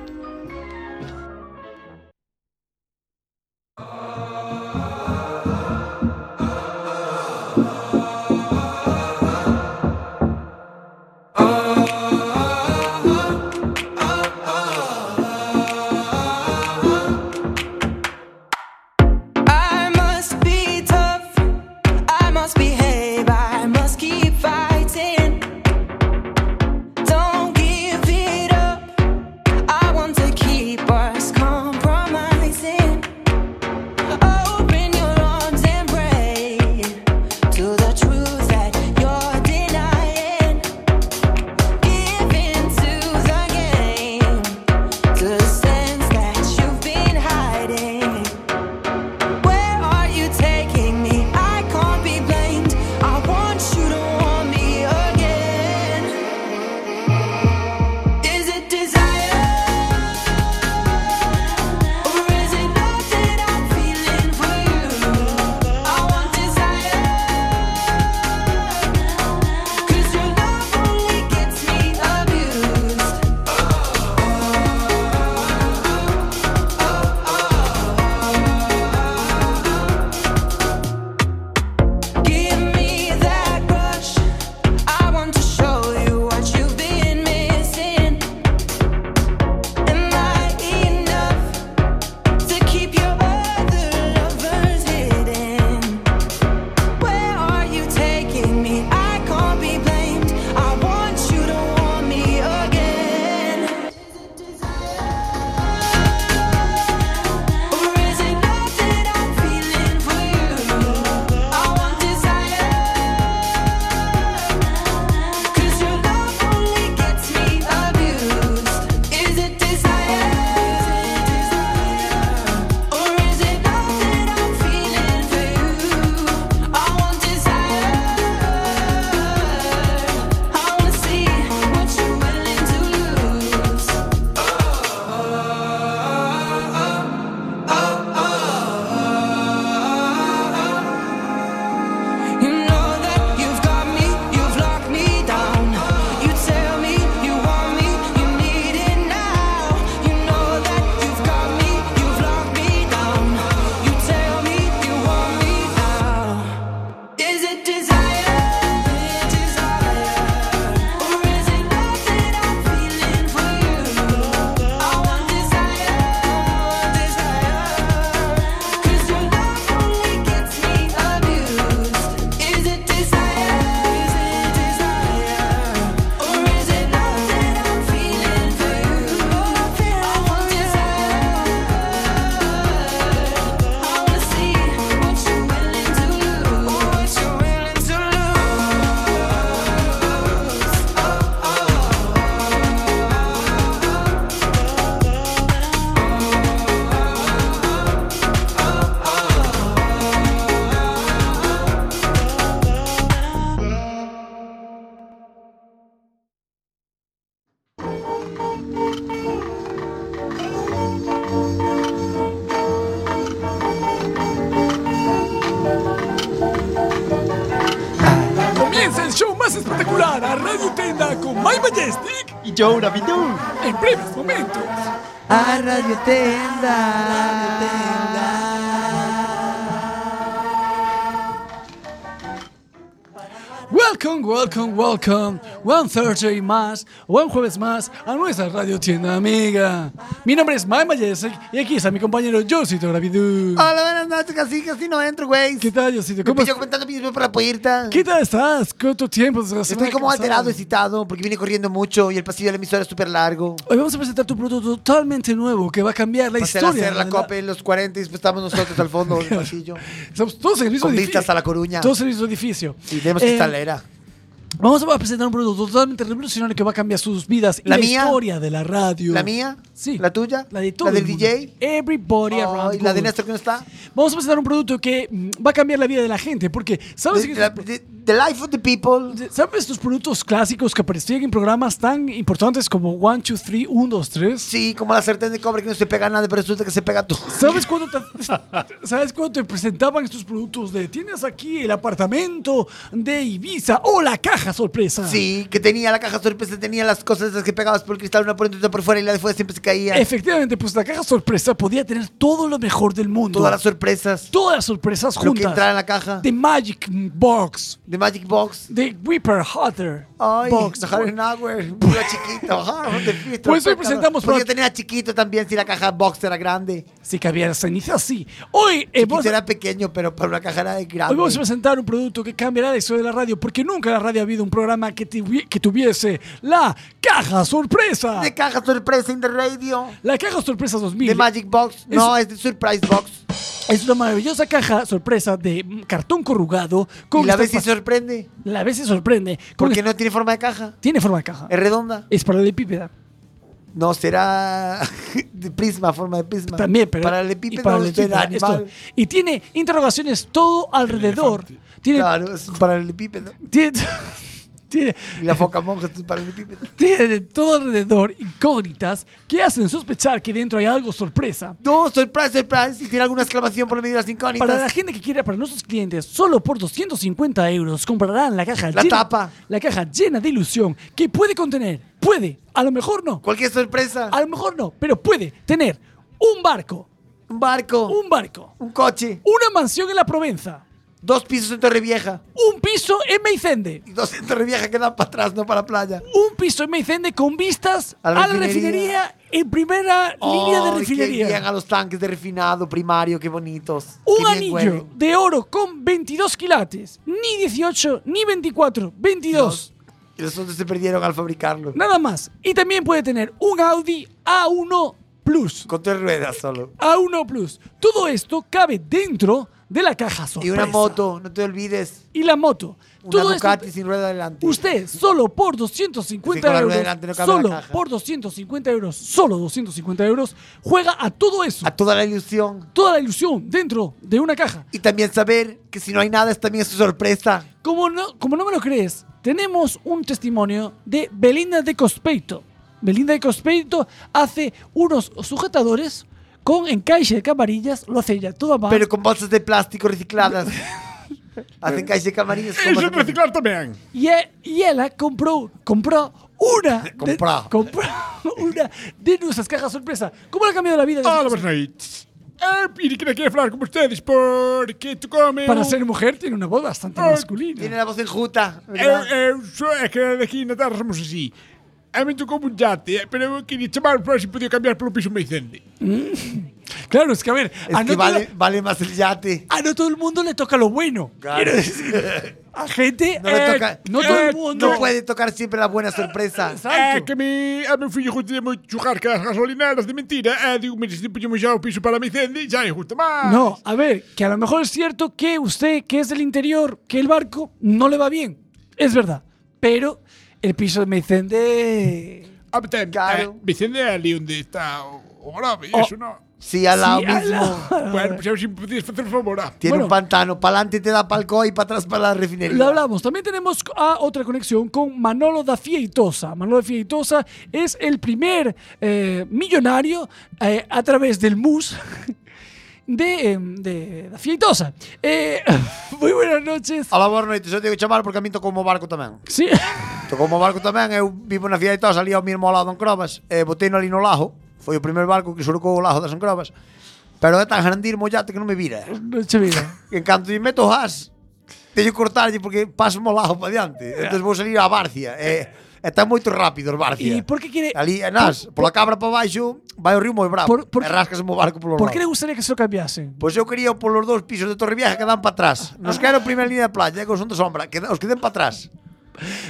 [SPEAKER 2] Comienza el show más espectacular a Radio Tenda con My Majestic
[SPEAKER 12] Y yo una pitú.
[SPEAKER 2] en breves momentos.
[SPEAKER 5] A Radio Tenda.
[SPEAKER 2] Welcome, welcome, welcome. One Thursday más, un jueves más a nuestra radio tienda amiga. Mi nombre es My Majestic y aquí está mi compañero Josito Gravidú.
[SPEAKER 5] Hola, buenas noches, casi, casi no entro, güey.
[SPEAKER 2] ¿Qué tal, Josito?
[SPEAKER 5] Me
[SPEAKER 2] ¿Cómo
[SPEAKER 5] pillo
[SPEAKER 2] estás?
[SPEAKER 5] comentando vídeos por la puerta.
[SPEAKER 2] ¿Qué tal estás? ¿Cuánto tiempo? desde la
[SPEAKER 5] Estoy
[SPEAKER 2] semana
[SPEAKER 5] como
[SPEAKER 2] pasada?
[SPEAKER 5] alterado, excitado, porque vine corriendo mucho y el pasillo de la emisora es súper largo.
[SPEAKER 2] Hoy vamos a presentar tu producto totalmente nuevo que va a cambiar la
[SPEAKER 5] Pasé a
[SPEAKER 2] historia.
[SPEAKER 5] hacer la
[SPEAKER 2] ¿verdad?
[SPEAKER 5] copa en los 40 y después estamos nosotros al fondo del pasillo.
[SPEAKER 2] Estamos todos en el mismo
[SPEAKER 5] Con
[SPEAKER 2] edificio.
[SPEAKER 5] vistas a La Coruña.
[SPEAKER 2] Todos en el mismo edificio.
[SPEAKER 5] Y tenemos
[SPEAKER 2] Eh,
[SPEAKER 5] cristalera.
[SPEAKER 2] Vamos a presentar un producto totalmente revolucionario que va a cambiar sus vidas y
[SPEAKER 5] ¿La
[SPEAKER 2] la
[SPEAKER 5] mía?
[SPEAKER 2] historia de la radio.
[SPEAKER 5] ¿La mía?
[SPEAKER 2] Sí.
[SPEAKER 5] ¿La tuya?
[SPEAKER 2] La de todo
[SPEAKER 5] ¿La del
[SPEAKER 2] el mundo.
[SPEAKER 5] DJ?
[SPEAKER 2] Everybody
[SPEAKER 5] Oh,
[SPEAKER 2] around.
[SPEAKER 5] ¿Y la de
[SPEAKER 2] the world.
[SPEAKER 5] Néstor que no está?
[SPEAKER 2] Vamos a presentar un producto que mm, va a cambiar la vida de la gente, porque sabes
[SPEAKER 5] The,
[SPEAKER 2] que
[SPEAKER 5] la- the- the Life of the People.
[SPEAKER 2] sabes estos productos clásicos que aparecían en programas tan importantes como 1 2 3 1 2 3.
[SPEAKER 5] Sí, como la sartén de cobre que no se pega nada, pero resulta que se pega todo.
[SPEAKER 2] ¿Sabes cuándo, te, ¿Sabes cuándo te presentaban estos productos de tienes aquí el apartamento de Ibiza o la caja sorpresa?
[SPEAKER 5] Sí, que tenía la caja sorpresa, tenía las cosas esas que pegabas por el cristal, una por dentro, otra por fuera y la de fuera siempre se caía.
[SPEAKER 2] Efectivamente, pues la caja sorpresa podía tener todo lo mejor del mundo.
[SPEAKER 5] Todas las sorpresas.
[SPEAKER 2] Todas las sorpresas
[SPEAKER 5] Lo que
[SPEAKER 2] juntas.
[SPEAKER 5] entraba en la caja.
[SPEAKER 2] The Magic Box.
[SPEAKER 5] The Magic Box.
[SPEAKER 2] The Whipper Hotter
[SPEAKER 5] Ay,
[SPEAKER 2] Box.
[SPEAKER 5] Harrenhauer, mira chiquito. Harren, te fiesta,
[SPEAKER 2] Pues hoy
[SPEAKER 5] espectador.
[SPEAKER 2] presentamos
[SPEAKER 5] Podía
[SPEAKER 2] pro-
[SPEAKER 5] tener a chiquito también si la caja box era grande.
[SPEAKER 2] Si cabía la ceniza, sí. Hoy, eh,
[SPEAKER 5] Chiquito
[SPEAKER 2] vamos,
[SPEAKER 5] era pequeño, pero para una caja era de
[SPEAKER 2] hoy vamos a
[SPEAKER 5] grande.
[SPEAKER 2] presentar un producto que cambiará la historia de la radio, porque nunca en la radio ha habido un programa que, tuvi- que tuviese la caja sorpresa.
[SPEAKER 5] De caja sorpresa in the radio.
[SPEAKER 2] La caja sorpresa 2000.
[SPEAKER 5] De Magic Box. No, es de Surprise Box.
[SPEAKER 2] Es una maravillosa caja sorpresa de mm, cartón corrugado. Con
[SPEAKER 5] Y la
[SPEAKER 2] estas
[SPEAKER 5] vez se
[SPEAKER 2] pas-
[SPEAKER 5] sorprende.
[SPEAKER 2] la vez se sorprende. con
[SPEAKER 5] Porque
[SPEAKER 2] est-
[SPEAKER 5] no tiene forma de caja.
[SPEAKER 2] Tiene forma de caja.
[SPEAKER 5] Es redonda.
[SPEAKER 2] Es paralelepípeda.
[SPEAKER 5] No, será de prisma, forma de prisma.
[SPEAKER 2] También, pero.
[SPEAKER 5] Paralelepípedo,
[SPEAKER 2] y paralelepípeda,
[SPEAKER 5] será animal.
[SPEAKER 2] esto. Y tiene interrogaciones todo alrededor. Tiene.
[SPEAKER 5] Claro, es un paralelepípedo.
[SPEAKER 2] Tiene. tiene
[SPEAKER 5] Y la foca monja es un paralelepípedo.
[SPEAKER 2] tiene todo alrededor incógnitas que hacen sospechar que dentro hay algo sorpresa.
[SPEAKER 5] No, surprise, surprise. Y tiene alguna exclamación por medio de las incógnitas.
[SPEAKER 2] Para la gente que quiera, para nuestros clientes, solo por 250 euros comprarán la caja
[SPEAKER 5] La
[SPEAKER 2] llena,
[SPEAKER 5] tapa.
[SPEAKER 2] la caja llena de ilusión que puede contener, puede, a lo mejor no,
[SPEAKER 5] Cualquier sorpresa.
[SPEAKER 2] a lo mejor no, pero puede tener un barco,
[SPEAKER 5] Un barco. Un,
[SPEAKER 2] un barco,
[SPEAKER 5] coche.
[SPEAKER 2] una mansión en la Provenza,
[SPEAKER 5] Dos pisos en Torrevieja.
[SPEAKER 2] un piso en Meicende,
[SPEAKER 5] Y dos en Torrevieja que dan para atrás, no para la playa.
[SPEAKER 2] un piso en Meicende con vistas a la, refinería. en primera línea de
[SPEAKER 5] Ay,
[SPEAKER 2] refinería. Uh.
[SPEAKER 5] Qué bien a los tanques de refinado primario, qué bonitos.
[SPEAKER 2] Un
[SPEAKER 5] Qué bien
[SPEAKER 2] anillo
[SPEAKER 5] huelen.
[SPEAKER 2] de oro con 22 quilates. Ni 18, ni 24, 22.
[SPEAKER 5] Y los otros se perdieron al fabricarlo.
[SPEAKER 2] Nada más. Y también puede tener un Audi A1 Plus.
[SPEAKER 5] Con tres ruedas solo.
[SPEAKER 2] A1 Plus. Todo esto cabe dentro de la caja sorpresa.
[SPEAKER 5] Y una moto, no te olvides.
[SPEAKER 2] Y la moto.
[SPEAKER 5] Una
[SPEAKER 2] Todo esto-
[SPEAKER 5] Ducati sin rueda adelante.
[SPEAKER 2] Usted solo por
[SPEAKER 5] Sí, con
[SPEAKER 2] 250
[SPEAKER 5] la
[SPEAKER 2] euros,
[SPEAKER 5] rueda delante no cabe la
[SPEAKER 2] solo
[SPEAKER 5] caja.
[SPEAKER 2] por 250 euros, solo 250 euros, juega a todo eso,
[SPEAKER 5] A toda la ilusión.
[SPEAKER 2] toda la ilusión dentro de una caja.
[SPEAKER 5] Y también saber que si no hay nada es también su sorpresa.
[SPEAKER 2] Como no, como no me lo crees, tenemos un testimonio de Belinda de Cospeito. Belinda de Cospeito hace unos sujetadores con encaje de camarillas, lo hace ella toda más.
[SPEAKER 5] Pero con bolsas de plástico recicladas. Hacen calles de camarillas. con bolsas de-
[SPEAKER 8] también.
[SPEAKER 2] y, e- y ella compró, compró una de,
[SPEAKER 5] Comprá.
[SPEAKER 2] compró una de nuestras cajas sorpresa. ¿Cómo le ha cambiado la vida? de
[SPEAKER 8] Hola,
[SPEAKER 2] Dios?
[SPEAKER 8] boas noites. Ah, Piri, que queria falar con ustedes porque tu comes.
[SPEAKER 2] Para ser mujer tiene una voz bastante masculina.
[SPEAKER 5] Tiene la voz enjuta.
[SPEAKER 8] Eu,
[SPEAKER 5] ¿verdad?
[SPEAKER 8] eu sou é que daqui na terra somos assim. A mim tocou um jate, eh, pero eu queria chamar o próximo podia cambiar pelo piso meicende.
[SPEAKER 2] Mm. Claro, es que a ver,
[SPEAKER 5] es
[SPEAKER 2] a Ah, no,
[SPEAKER 5] que
[SPEAKER 2] todo-
[SPEAKER 5] vale, Este vale más el yate.
[SPEAKER 2] a no todo el mundo le toca lo bueno. Quiero decir, a gente,
[SPEAKER 5] No, le
[SPEAKER 2] eh,
[SPEAKER 5] toca-
[SPEAKER 2] no todo el mundo.
[SPEAKER 5] no puede tocar siempre la buena sorpresa.
[SPEAKER 8] É que a mim, a meu filho gosta muito de jogar com as gasolineiras de mentira. É, digo, mas se podíamos já o piso para meicende, já eu gosto mais.
[SPEAKER 2] No, a ver, que a lo mejor es cierto que usted, que es del interior, que el barco no le va bien. Es verdad. Pero el piso de Meicende.
[SPEAKER 8] Ah, mas tem,
[SPEAKER 5] Claro.
[SPEAKER 8] é, meicende é ali onde está o, o grave, isso não.
[SPEAKER 5] Sí, al lado
[SPEAKER 2] Oh, Sí,
[SPEAKER 5] mismo.
[SPEAKER 2] al lado.
[SPEAKER 8] Bueno, pues eu se me podias fazer um favor, ah.
[SPEAKER 5] Tiene
[SPEAKER 2] Bueno.
[SPEAKER 5] un pantano. Para adelante te da palco y para atrás para la refinería.
[SPEAKER 2] Lo hablamos. También tenemos a otra conexión con Manolo da Fieitosa. Manolo da Fieitosa es el primer eh, millonario eh, a través del MUS
[SPEAKER 6] de, em, de da Fietosa. Eh, moi buenas noches.
[SPEAKER 5] Alá, boa noite, só digo chamar porque a min tocou o barco tamén.
[SPEAKER 6] Sí.
[SPEAKER 5] Tocou o barco tamén, eu vivo na cidade de Tosa, ali ao mesmo ao lado en Crobas, e botei ali no lajo, foi o primeiro barco que surcou o lajo das Encrobas, pero é tan grandir o mollate que non me vira.
[SPEAKER 6] Non che mira.
[SPEAKER 5] En canto lle meto o has, teño que cortarlle porque paso o lajo para diante. Entón vou salir á Barcia, e, e está moito rápido o Barcia.
[SPEAKER 6] E por que quere
[SPEAKER 5] Ali, e nas, pola cabra para baixo, vai o río moi bravo,
[SPEAKER 6] Por- por-
[SPEAKER 5] e rascase o barco polo
[SPEAKER 6] por
[SPEAKER 5] lado.
[SPEAKER 6] que le gustaría que se lo cambiasen?
[SPEAKER 5] Pois eu Pues quería polos dous pisos de Torrevieja que dan para atrás. Nos quero a primeira línea de playa, que os son de sombra, que os que den para atrás.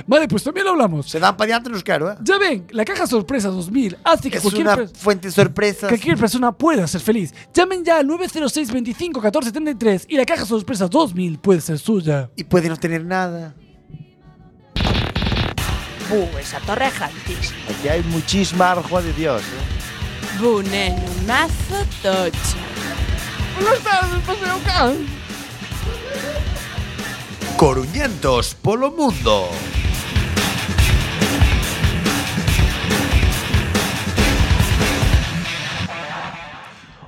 [SPEAKER 6] Vale, pues también lo hablamos.
[SPEAKER 5] Se dan para diante nos quero, eh.
[SPEAKER 6] Ya ven, la caja sorpresa 2000 hace que
[SPEAKER 5] Es
[SPEAKER 6] cualquier
[SPEAKER 5] una
[SPEAKER 6] per-
[SPEAKER 5] fuente de sorpresas.
[SPEAKER 6] Cualquier persona pueda ser feliz. Llamen ya al 906 25 14 73 y la caja sorpresa 2000 puede ser suya.
[SPEAKER 5] Y puede no tener nada.
[SPEAKER 11] Bu, esa torre Jantis.
[SPEAKER 14] Aquí hay muchísima arjoa de Dios. ¿eh?
[SPEAKER 15] Bu, neno, mazo tocho.
[SPEAKER 9] Coruñentos polo mundo.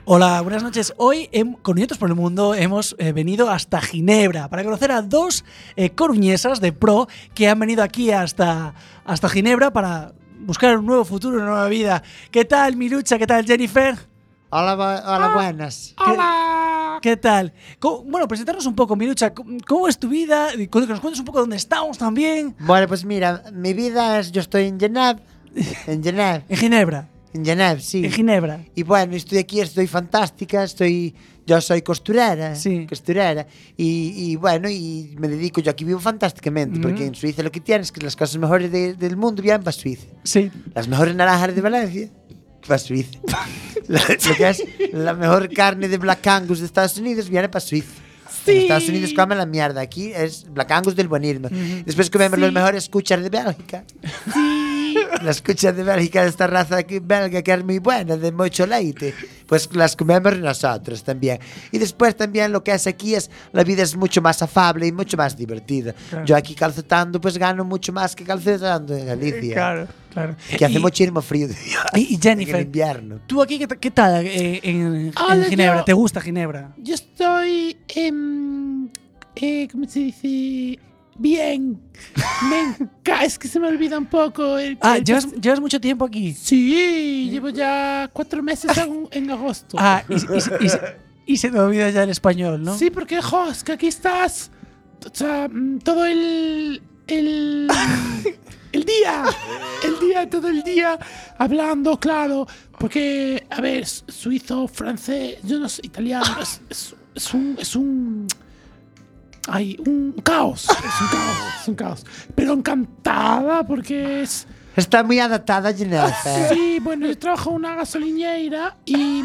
[SPEAKER 6] Hola, buenas noches. Hoy, en Coruñetos por el Mundo, hemos eh, venido hasta Ginebra para conocer a dos eh, coruñesas de pro que han venido aquí hasta, hasta Ginebra para buscar un nuevo futuro, una nueva vida. ¿Qué tal, Milucha? ¿Qué tal, Jennifer?
[SPEAKER 5] Hola, ba-
[SPEAKER 11] Ah,
[SPEAKER 5] hola buenas.
[SPEAKER 6] ¿Qué- ¿Qué tal? Co- Bueno, presentarnos un poco, Milucha. c- ¿Cómo es tu vida? Y cu- Que nos cuentes un poco dónde estamos también.
[SPEAKER 5] Bueno, pues mira, mi vida es. Yo estoy en Genève. En Genève.
[SPEAKER 6] En Ginebra.
[SPEAKER 5] En Genève, sí.
[SPEAKER 6] En Ginebra.
[SPEAKER 5] Y bueno, estoy aquí, estoy fantástica, estoy... Yo soy costurera,
[SPEAKER 6] Sí.
[SPEAKER 5] costurera, y, y bueno, y me dedico, yo aquí vivo fantásticamente,
[SPEAKER 6] Mm-hmm.
[SPEAKER 5] porque en Suiza lo que tienes, que las cosas mejores de- del mundo vienen para Suiza.
[SPEAKER 6] Sí.
[SPEAKER 5] Las mejores naranjas de Valencia, para Suiza. La- lo que es la mejor carne de Black Angus de Estados Unidos viene para Suiza. En Estados Unidos comen la mierda, aquí es Black Angus del buenismo. Después comemos los mejores cuchas de Bélgica. Las cuchas de Bélgica, de esta raza aquí, belga que es muy buena, de mucho leite, pues las comemos nosotros también. Y después también lo que es aquí es, la vida es mucho más afable y mucho más divertida. Yo aquí calcetando pues gano mucho más que calcetando en Galicia.
[SPEAKER 6] Eh, Claro, claro.
[SPEAKER 5] Que hace
[SPEAKER 6] Y-
[SPEAKER 5] muchísimo frío de
[SPEAKER 6] Y, y
[SPEAKER 5] en el
[SPEAKER 6] Jennifer,
[SPEAKER 5] invierno.
[SPEAKER 6] ¿tú aquí qué, ta- qué tal eh, en, en
[SPEAKER 11] Hola,
[SPEAKER 6] Ginebra?
[SPEAKER 11] yo-
[SPEAKER 6] ¿Te gusta Ginebra?
[SPEAKER 11] Yo estoy. em, eh, ¿Cómo se dice? Bien. Me enca- es que se me olvida un poco. El,
[SPEAKER 6] Ah,
[SPEAKER 11] el-
[SPEAKER 6] ¿llevas, llevas mucho tiempo aquí.
[SPEAKER 11] Sí, llevo ya cuatro meses en, en agosto.
[SPEAKER 6] Ah, y, se- y se- y se- y se te olvida ya el español, ¿no?
[SPEAKER 11] Sí, porque, jo, es que aquí estás. O sea, mm, todo el. El. El día. El día, todo el día. Hablando, claro. Porque, a ver, s- suizo, francés, yo no sé, italiano. Es, es- es un. Es un. Ay, un caos. Es un caos. Es un caos. Pero encantada porque es. Ah,
[SPEAKER 5] Está muy adaptada a Ginebra.
[SPEAKER 11] Sí, bueno, yo trabajo en una gasolineira y.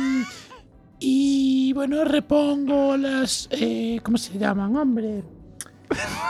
[SPEAKER 11] Y bueno, repongo las. eh, ¿Cómo se llaman, hombre?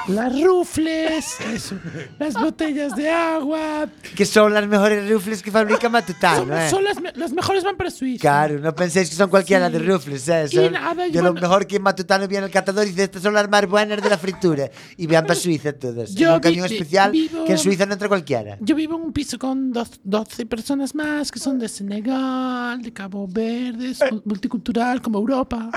[SPEAKER 11] Las rufles, eso, las botellas de agua.
[SPEAKER 5] que son las mejores rufles que fabrica Matutano,
[SPEAKER 11] Son,
[SPEAKER 5] eh.
[SPEAKER 11] son las, me- las mejores van para Suiza.
[SPEAKER 5] Claro, no penséis que son cualquiera
[SPEAKER 11] Sí.
[SPEAKER 5] de rufles, eh.
[SPEAKER 11] Y
[SPEAKER 5] Son
[SPEAKER 11] nada, y
[SPEAKER 5] de lo
[SPEAKER 11] bueno-
[SPEAKER 5] mejor que Matutano viene al catador y dice, estas son las más buenas de la fritura. Y vean para Suiza todas.
[SPEAKER 11] Yo
[SPEAKER 5] en un camión
[SPEAKER 11] vi-
[SPEAKER 5] especial
[SPEAKER 11] vivo-
[SPEAKER 5] que en Suiza no entra cualquiera.
[SPEAKER 11] Yo vivo en un piso con doz- 12 personas más que son de Senegal, de Cabo Verde, es mu- multicultural como Europa.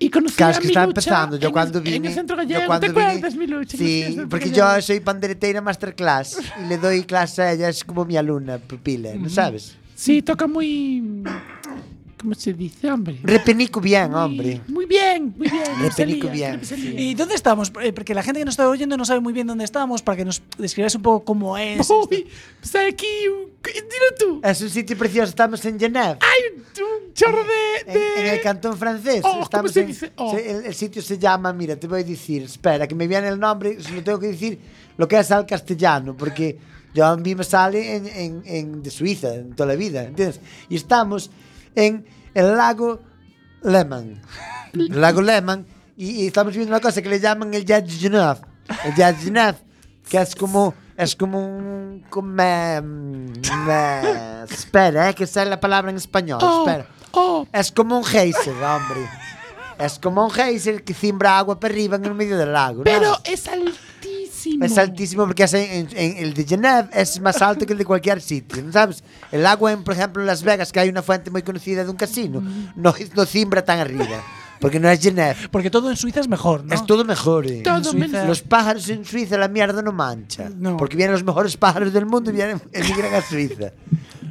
[SPEAKER 11] Y conocí
[SPEAKER 5] Eh. Claro,
[SPEAKER 11] a
[SPEAKER 5] es que
[SPEAKER 11] mi
[SPEAKER 5] estaba
[SPEAKER 11] lucha
[SPEAKER 5] empezando. Yo
[SPEAKER 11] en
[SPEAKER 5] cuando
[SPEAKER 11] el-
[SPEAKER 5] vine.
[SPEAKER 11] En el centro
[SPEAKER 5] yo
[SPEAKER 11] gallego,
[SPEAKER 5] cuando
[SPEAKER 11] ¿te
[SPEAKER 5] vine-
[SPEAKER 11] acuerdas, mi lucha? Que
[SPEAKER 5] Sí,
[SPEAKER 11] estuve en el
[SPEAKER 5] porque
[SPEAKER 11] centro gallego.
[SPEAKER 5] yo soy pandereteira masterclass y le doy clase a ella, es como mi alumna, pupila, ¿no sabes?
[SPEAKER 11] Sí, toca muy. ¿Cómo se dice, hombre?
[SPEAKER 5] Repenico bien, hombre.
[SPEAKER 11] Muy bien, muy bien.
[SPEAKER 5] Me pelico bien.
[SPEAKER 6] ¿Y dónde estamos? Eh, Porque la gente que nos está oyendo no sabe muy bien dónde estamos, para que nos describas un poco cómo es.
[SPEAKER 11] Uy, pues aquí, un- dilo tú.
[SPEAKER 5] Es un sitio precioso, estamos en Genève.
[SPEAKER 11] Hay un, un chorro de.
[SPEAKER 5] En,
[SPEAKER 11] de-
[SPEAKER 5] en el cantón francés.
[SPEAKER 11] Oh, ¿cómo
[SPEAKER 5] Estamos
[SPEAKER 11] se
[SPEAKER 5] en-
[SPEAKER 11] dice? Oh.
[SPEAKER 5] se- el, el sitio se llama, mira, te voy a decir, espera, que me viene el nombre, se lo tengo que decir, lo que es al castellano, porque yo a mí me sale en, en- en- de Suiza, en toda la vida, ¿entiendes? Y estamos en el lago Lemán. El lago Lemán, y, y estamos viendo una cosa que le llaman el Jazz Genève. El Jazz Genève, que es como... Es como un... Como, eh, espera, eh, que sale la palabra en español.
[SPEAKER 11] Oh,
[SPEAKER 5] espera.
[SPEAKER 11] oh,
[SPEAKER 5] Es como un geyser, hombre. Es como un geyser que cimbra agua para arriba en el medio del lago.
[SPEAKER 11] pero
[SPEAKER 5] ¿no?
[SPEAKER 11] es altísimo. altísimo.
[SPEAKER 5] Es altísimo porque es en- en- en el de Genève es más alto que el de cualquier sitio, ¿no ¿sabes? El agua, en, por ejemplo, en Las Vegas, que hay una fuente muy conocida de un casino, no, no cimbra tan arriba. Porque no es Genève.
[SPEAKER 6] Porque todo en Suiza es mejor, ¿no?
[SPEAKER 5] Es todo mejor. eh.
[SPEAKER 6] Todo En Suiza- menos-
[SPEAKER 5] Los pájaros en Suiza, la mierda no mancha. Porque vienen los mejores pájaros del mundo y vienen, emigran a Suiza.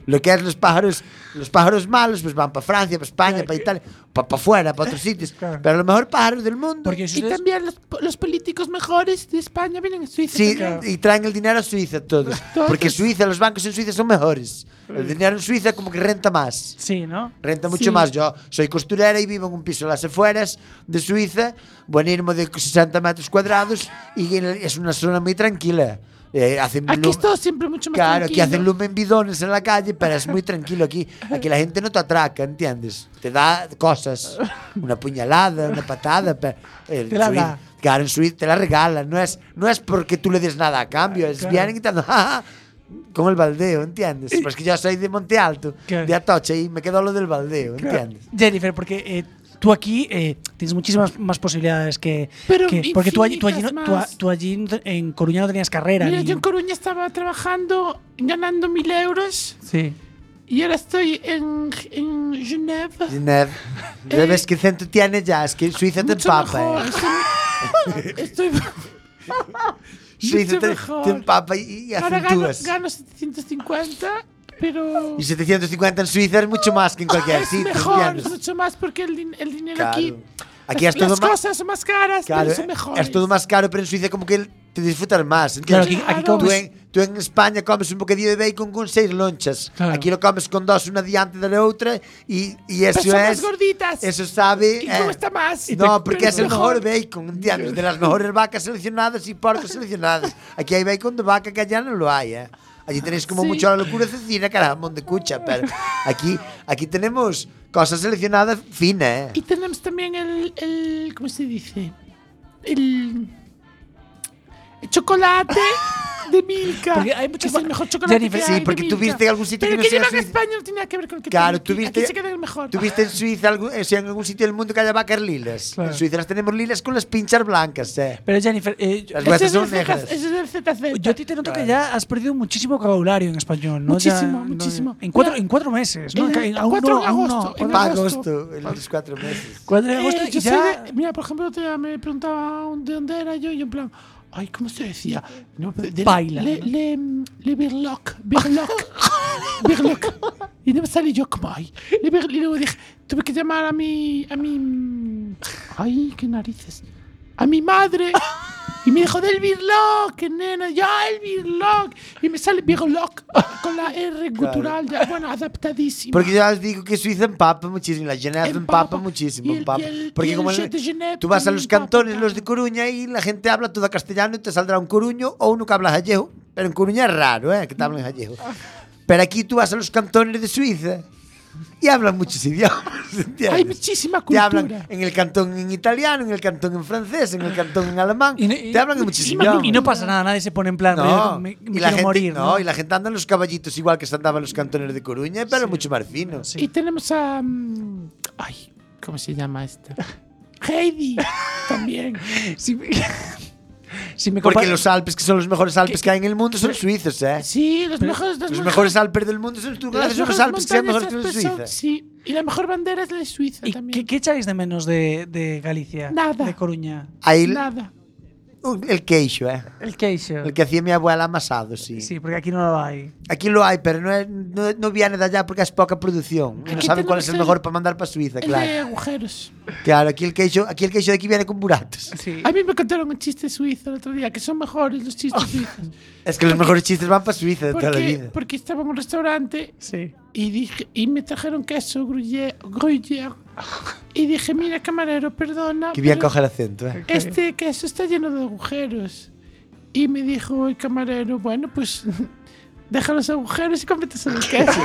[SPEAKER 5] Lo que es los pájaros, los pájaros malos, pues van para Francia, para España, para Italia, para afuera, para otros sitios. Pero los mejores pájaros del mundo.
[SPEAKER 11] Y también los, los políticos mejores de España vienen a Suiza.
[SPEAKER 5] Sí,
[SPEAKER 11] Claro.
[SPEAKER 5] y traen el dinero a Suiza todos. Porque Suiza, los bancos en Suiza son mejores. El dinero en Suiza como que renta más.
[SPEAKER 6] Sí, ¿no?
[SPEAKER 5] Renta mucho
[SPEAKER 6] Sí.
[SPEAKER 5] más. Yo soy costurera y vivo en un piso a las afueras de Suiza, buenismo de 60 metros cuadrados y en el- es una zona muy tranquila. Eh, hacen
[SPEAKER 11] Aquí
[SPEAKER 5] lum-
[SPEAKER 11] es todo siempre mucho más
[SPEAKER 5] Claro, aquí
[SPEAKER 11] tranquilo.
[SPEAKER 5] hacen lumen bidones en la calle, pero es muy tranquilo aquí. Aquí la gente no te atraca, ¿entiendes? Te da cosas, una puñalada, una patada. Pero, el
[SPEAKER 6] Te la
[SPEAKER 5] Suiza-
[SPEAKER 6] da.
[SPEAKER 5] Claro, en Suiza te la regalan. No es, no es porque tú le des nada a
[SPEAKER 11] Ah,
[SPEAKER 5] cambio, es
[SPEAKER 6] Claro.
[SPEAKER 5] vienen y te dan, "Ja, ja", como el baldeo, ¿entiendes? Pues que yo soy de Monte Alto,
[SPEAKER 6] Claro.
[SPEAKER 5] de Atocha, y me quedó lo del baldeo, ¿entiendes?
[SPEAKER 6] Jennifer, porque eh, tú aquí eh, tienes muchísimas más posibilidades que.
[SPEAKER 11] Pero
[SPEAKER 6] que- porque tú allí, tú, allí no,
[SPEAKER 11] infinitas
[SPEAKER 6] tú a-
[SPEAKER 11] más.
[SPEAKER 6] tú allí no te- en Coruña no tenías carrera.
[SPEAKER 11] Mira,
[SPEAKER 6] ni-
[SPEAKER 11] yo en Coruña estaba trabajando, ganando mil euros
[SPEAKER 6] sí.
[SPEAKER 11] y ahora estoy en, en Geneva.
[SPEAKER 5] Ginebra. Ya ves que centro tiene ya, es que Suiza te
[SPEAKER 11] Eh. Mucho
[SPEAKER 5] empapa.
[SPEAKER 11] mejor,
[SPEAKER 5] eh.
[SPEAKER 11] Estoy, estoy-
[SPEAKER 5] Suiza
[SPEAKER 11] mucho
[SPEAKER 5] te,
[SPEAKER 11] mejor.
[SPEAKER 5] te empapa y, y
[SPEAKER 11] ahora gano,
[SPEAKER 5] acentúas.
[SPEAKER 11] gano 750, pero
[SPEAKER 5] Y 750 en Suiza es mucho más que en cualquier
[SPEAKER 11] Ah, es
[SPEAKER 5] sitio,
[SPEAKER 11] mejor, es
[SPEAKER 5] ¿entiendes?
[SPEAKER 11] mucho más porque el, din- el dinero
[SPEAKER 5] Claro.
[SPEAKER 11] aquí.
[SPEAKER 5] Aquí
[SPEAKER 11] las-
[SPEAKER 5] es todo
[SPEAKER 11] las
[SPEAKER 5] ma-
[SPEAKER 11] cosas son más caras,
[SPEAKER 5] Claro, eh,
[SPEAKER 11] pero son mejores.
[SPEAKER 5] es todo más caro, pero en Suiza como que te disfrutas más. ¿entiendes?
[SPEAKER 11] Claro, aquí- aquí Claro.
[SPEAKER 5] tú,
[SPEAKER 11] comes-
[SPEAKER 5] en, tú en España comes un bocadillo de bacon con seis lonchas. Aquí lo comes con dos, una diante de la otra y, y eso
[SPEAKER 11] Personas
[SPEAKER 5] es...
[SPEAKER 11] gorditas.
[SPEAKER 5] Eso sabe...
[SPEAKER 11] y
[SPEAKER 5] eh,
[SPEAKER 11] cuesta más.
[SPEAKER 5] No, porque
[SPEAKER 11] Pero
[SPEAKER 5] es el mejor bacon, ¿entiendes? De las mejores vacas seleccionadas y porcos seleccionados. Aquí hay bacon de vaca que allá no lo hay, ¿eh? Allí tenéis como
[SPEAKER 9] Sí.
[SPEAKER 5] mucho la locura cecina, caramba, de cucha, pero aquí, aquí tenemos cosas seleccionadas finas,
[SPEAKER 11] Y
[SPEAKER 5] ¿eh?
[SPEAKER 11] tenemos también el, el- ¿Cómo se dice? El. el chocolate de Milka.
[SPEAKER 6] Porque hay mucho
[SPEAKER 11] es el mejor chocolate
[SPEAKER 5] Jennifer,
[SPEAKER 11] que
[SPEAKER 5] sí,
[SPEAKER 11] hay de
[SPEAKER 5] porque tú
[SPEAKER 11] Milka.
[SPEAKER 5] viste en algún sitio
[SPEAKER 11] Pero
[SPEAKER 5] que no sea
[SPEAKER 11] lleva en
[SPEAKER 5] Suiza.
[SPEAKER 11] España no tiene nada que ver con el que
[SPEAKER 5] Claro,
[SPEAKER 11] tiene
[SPEAKER 5] tú
[SPEAKER 11] aquí.
[SPEAKER 5] viste,
[SPEAKER 11] Aquí se queda el mejor.
[SPEAKER 5] tú viste en Suiza, algún, eh, si en algún sitio del mundo que haya vacas lilas.
[SPEAKER 6] Claro.
[SPEAKER 5] En Suiza las tenemos lilas con las pinchas blancas, ¿eh?
[SPEAKER 6] Pero Jennifer, eh, yo-
[SPEAKER 5] Las vuestras son negras.
[SPEAKER 11] Ese es el ZZ.
[SPEAKER 6] yo a ti te noto que ya has perdido muchísimo vocabulario en español, ¿no? Ya-
[SPEAKER 11] Muchísimo,
[SPEAKER 6] no-
[SPEAKER 11] muchísimo.
[SPEAKER 6] en, cuatro,
[SPEAKER 11] Mira,
[SPEAKER 6] en cuatro meses, ¿no?
[SPEAKER 11] en-
[SPEAKER 6] Ca-
[SPEAKER 11] en
[SPEAKER 6] aún
[SPEAKER 11] cuatro
[SPEAKER 6] no,
[SPEAKER 11] de
[SPEAKER 6] aún
[SPEAKER 11] agosto,
[SPEAKER 6] no.
[SPEAKER 11] en
[SPEAKER 5] Para
[SPEAKER 11] agosto.
[SPEAKER 5] agosto, en los cuatro meses.
[SPEAKER 6] Cuatro de agosto
[SPEAKER 11] Eh,
[SPEAKER 6] y
[SPEAKER 11] yo
[SPEAKER 6] ya.
[SPEAKER 11] soy de- mira, por ejemplo, otro día me preguntaba de dónde era yo y yo en plan, ay, ¿cómo se decía? No, de- de-
[SPEAKER 6] Baila,
[SPEAKER 11] Le,
[SPEAKER 6] ¿no?
[SPEAKER 11] le, le Birlock, Birlock, Birlock. Y no me salí yo como, ay. le Bir- Y luego dije, tuve que llamar a mi, a mi, ay, qué narices, a mi madre. Y me dijo, del Birlock, nena, ya el Birlock. Y me sale Birlock con la R gutural, ya, bueno, adaptadísima.
[SPEAKER 5] Porque ya os digo que Suiza empapa muchísimo, la Geneva empapa, muchísimo,
[SPEAKER 11] Y el-
[SPEAKER 5] empapa.
[SPEAKER 11] y el- y
[SPEAKER 5] Porque
[SPEAKER 11] el
[SPEAKER 5] como en-
[SPEAKER 11] Jet de Geneva
[SPEAKER 5] tú vas a los
[SPEAKER 11] empapa,
[SPEAKER 5] cantones, los de Coruña, y la gente habla toda castellano y te saldrá un coruño o uno que habla gallego. Pero en Coruña es raro, ¿eh? Que te hablen gallego. Pero aquí tú vas a los cantones de Suiza y hablan muchos idiomas, ¿entiendes?
[SPEAKER 11] Hay muchísima
[SPEAKER 5] Te
[SPEAKER 11] cultura.
[SPEAKER 5] hablan en el cantón en italiano, en el cantón en francés, en el cantón en alemán. te hablan de muchísimos idiomas.
[SPEAKER 6] Y no pasa nada, nadie se pone en plan,
[SPEAKER 5] No,
[SPEAKER 6] "Yo me, me
[SPEAKER 5] y
[SPEAKER 6] quiero
[SPEAKER 5] la gente,
[SPEAKER 6] morir, ¿no?
[SPEAKER 5] no, y la gente anda en los caballitos igual que se andaban los cantones de Coruña, pero mucho más fino.
[SPEAKER 11] Y tenemos a. mm, Ay, ¿cómo se llama esta? Heidi también.
[SPEAKER 6] Si me- si me
[SPEAKER 5] Porque
[SPEAKER 6] compar-
[SPEAKER 5] los Alpes, que son los mejores Alpes que hay en el mundo, son suizos, ¿eh?
[SPEAKER 11] Sí, los mejores.
[SPEAKER 5] Los
[SPEAKER 11] mejo-
[SPEAKER 5] mejores Alpes del mundo son tú,
[SPEAKER 11] las
[SPEAKER 5] gracias a los
[SPEAKER 11] mejores
[SPEAKER 5] Alpes que sean
[SPEAKER 11] montañas
[SPEAKER 5] mejores que los
[SPEAKER 11] alpes son-
[SPEAKER 5] suizos.
[SPEAKER 11] Sí, y la mejor bandera es la de Suiza
[SPEAKER 6] ¿Y
[SPEAKER 11] también.
[SPEAKER 6] qué, qué echáis de menos de, de Galicia?
[SPEAKER 11] Nada.
[SPEAKER 6] De Coruña.
[SPEAKER 5] Ahí el,
[SPEAKER 11] Nada.
[SPEAKER 5] el queixo, ¿eh?
[SPEAKER 6] El queixo.
[SPEAKER 5] El que hacía mi abuela amasado, sí.
[SPEAKER 6] Sí, porque aquí no lo hay.
[SPEAKER 5] Aquí lo hay, pero no, es- no, no viene de allá porque es poca producción. No
[SPEAKER 11] Aquí
[SPEAKER 5] saben cuál es
[SPEAKER 11] tenemos
[SPEAKER 5] el
[SPEAKER 11] el-
[SPEAKER 5] mejor para mandar para Suiza,
[SPEAKER 11] El de
[SPEAKER 5] claro.
[SPEAKER 11] agujeros.
[SPEAKER 5] Claro, aquí el queixo, aquí el queixo de aquí viene con buratos.
[SPEAKER 11] A mí me contaron un chiste suizo el otro día, que son mejores los chistes suizos.
[SPEAKER 5] Es que los mejores chistes van para Suiza Oh, de toda la
[SPEAKER 11] Porque,
[SPEAKER 5] vida.
[SPEAKER 11] porque estaba en un restaurante
[SPEAKER 6] Sí.
[SPEAKER 11] y, dije, y me trajeron queso gruyere. gruyere. Y dije, mira, camarero, perdona.
[SPEAKER 5] Que bien
[SPEAKER 11] pero-
[SPEAKER 5] coge el acento, ¿eh?
[SPEAKER 11] Este queso está lleno de agujeros. Y me dijo el camarero, bueno, pues deja los agujeros y cómprate solo el queso.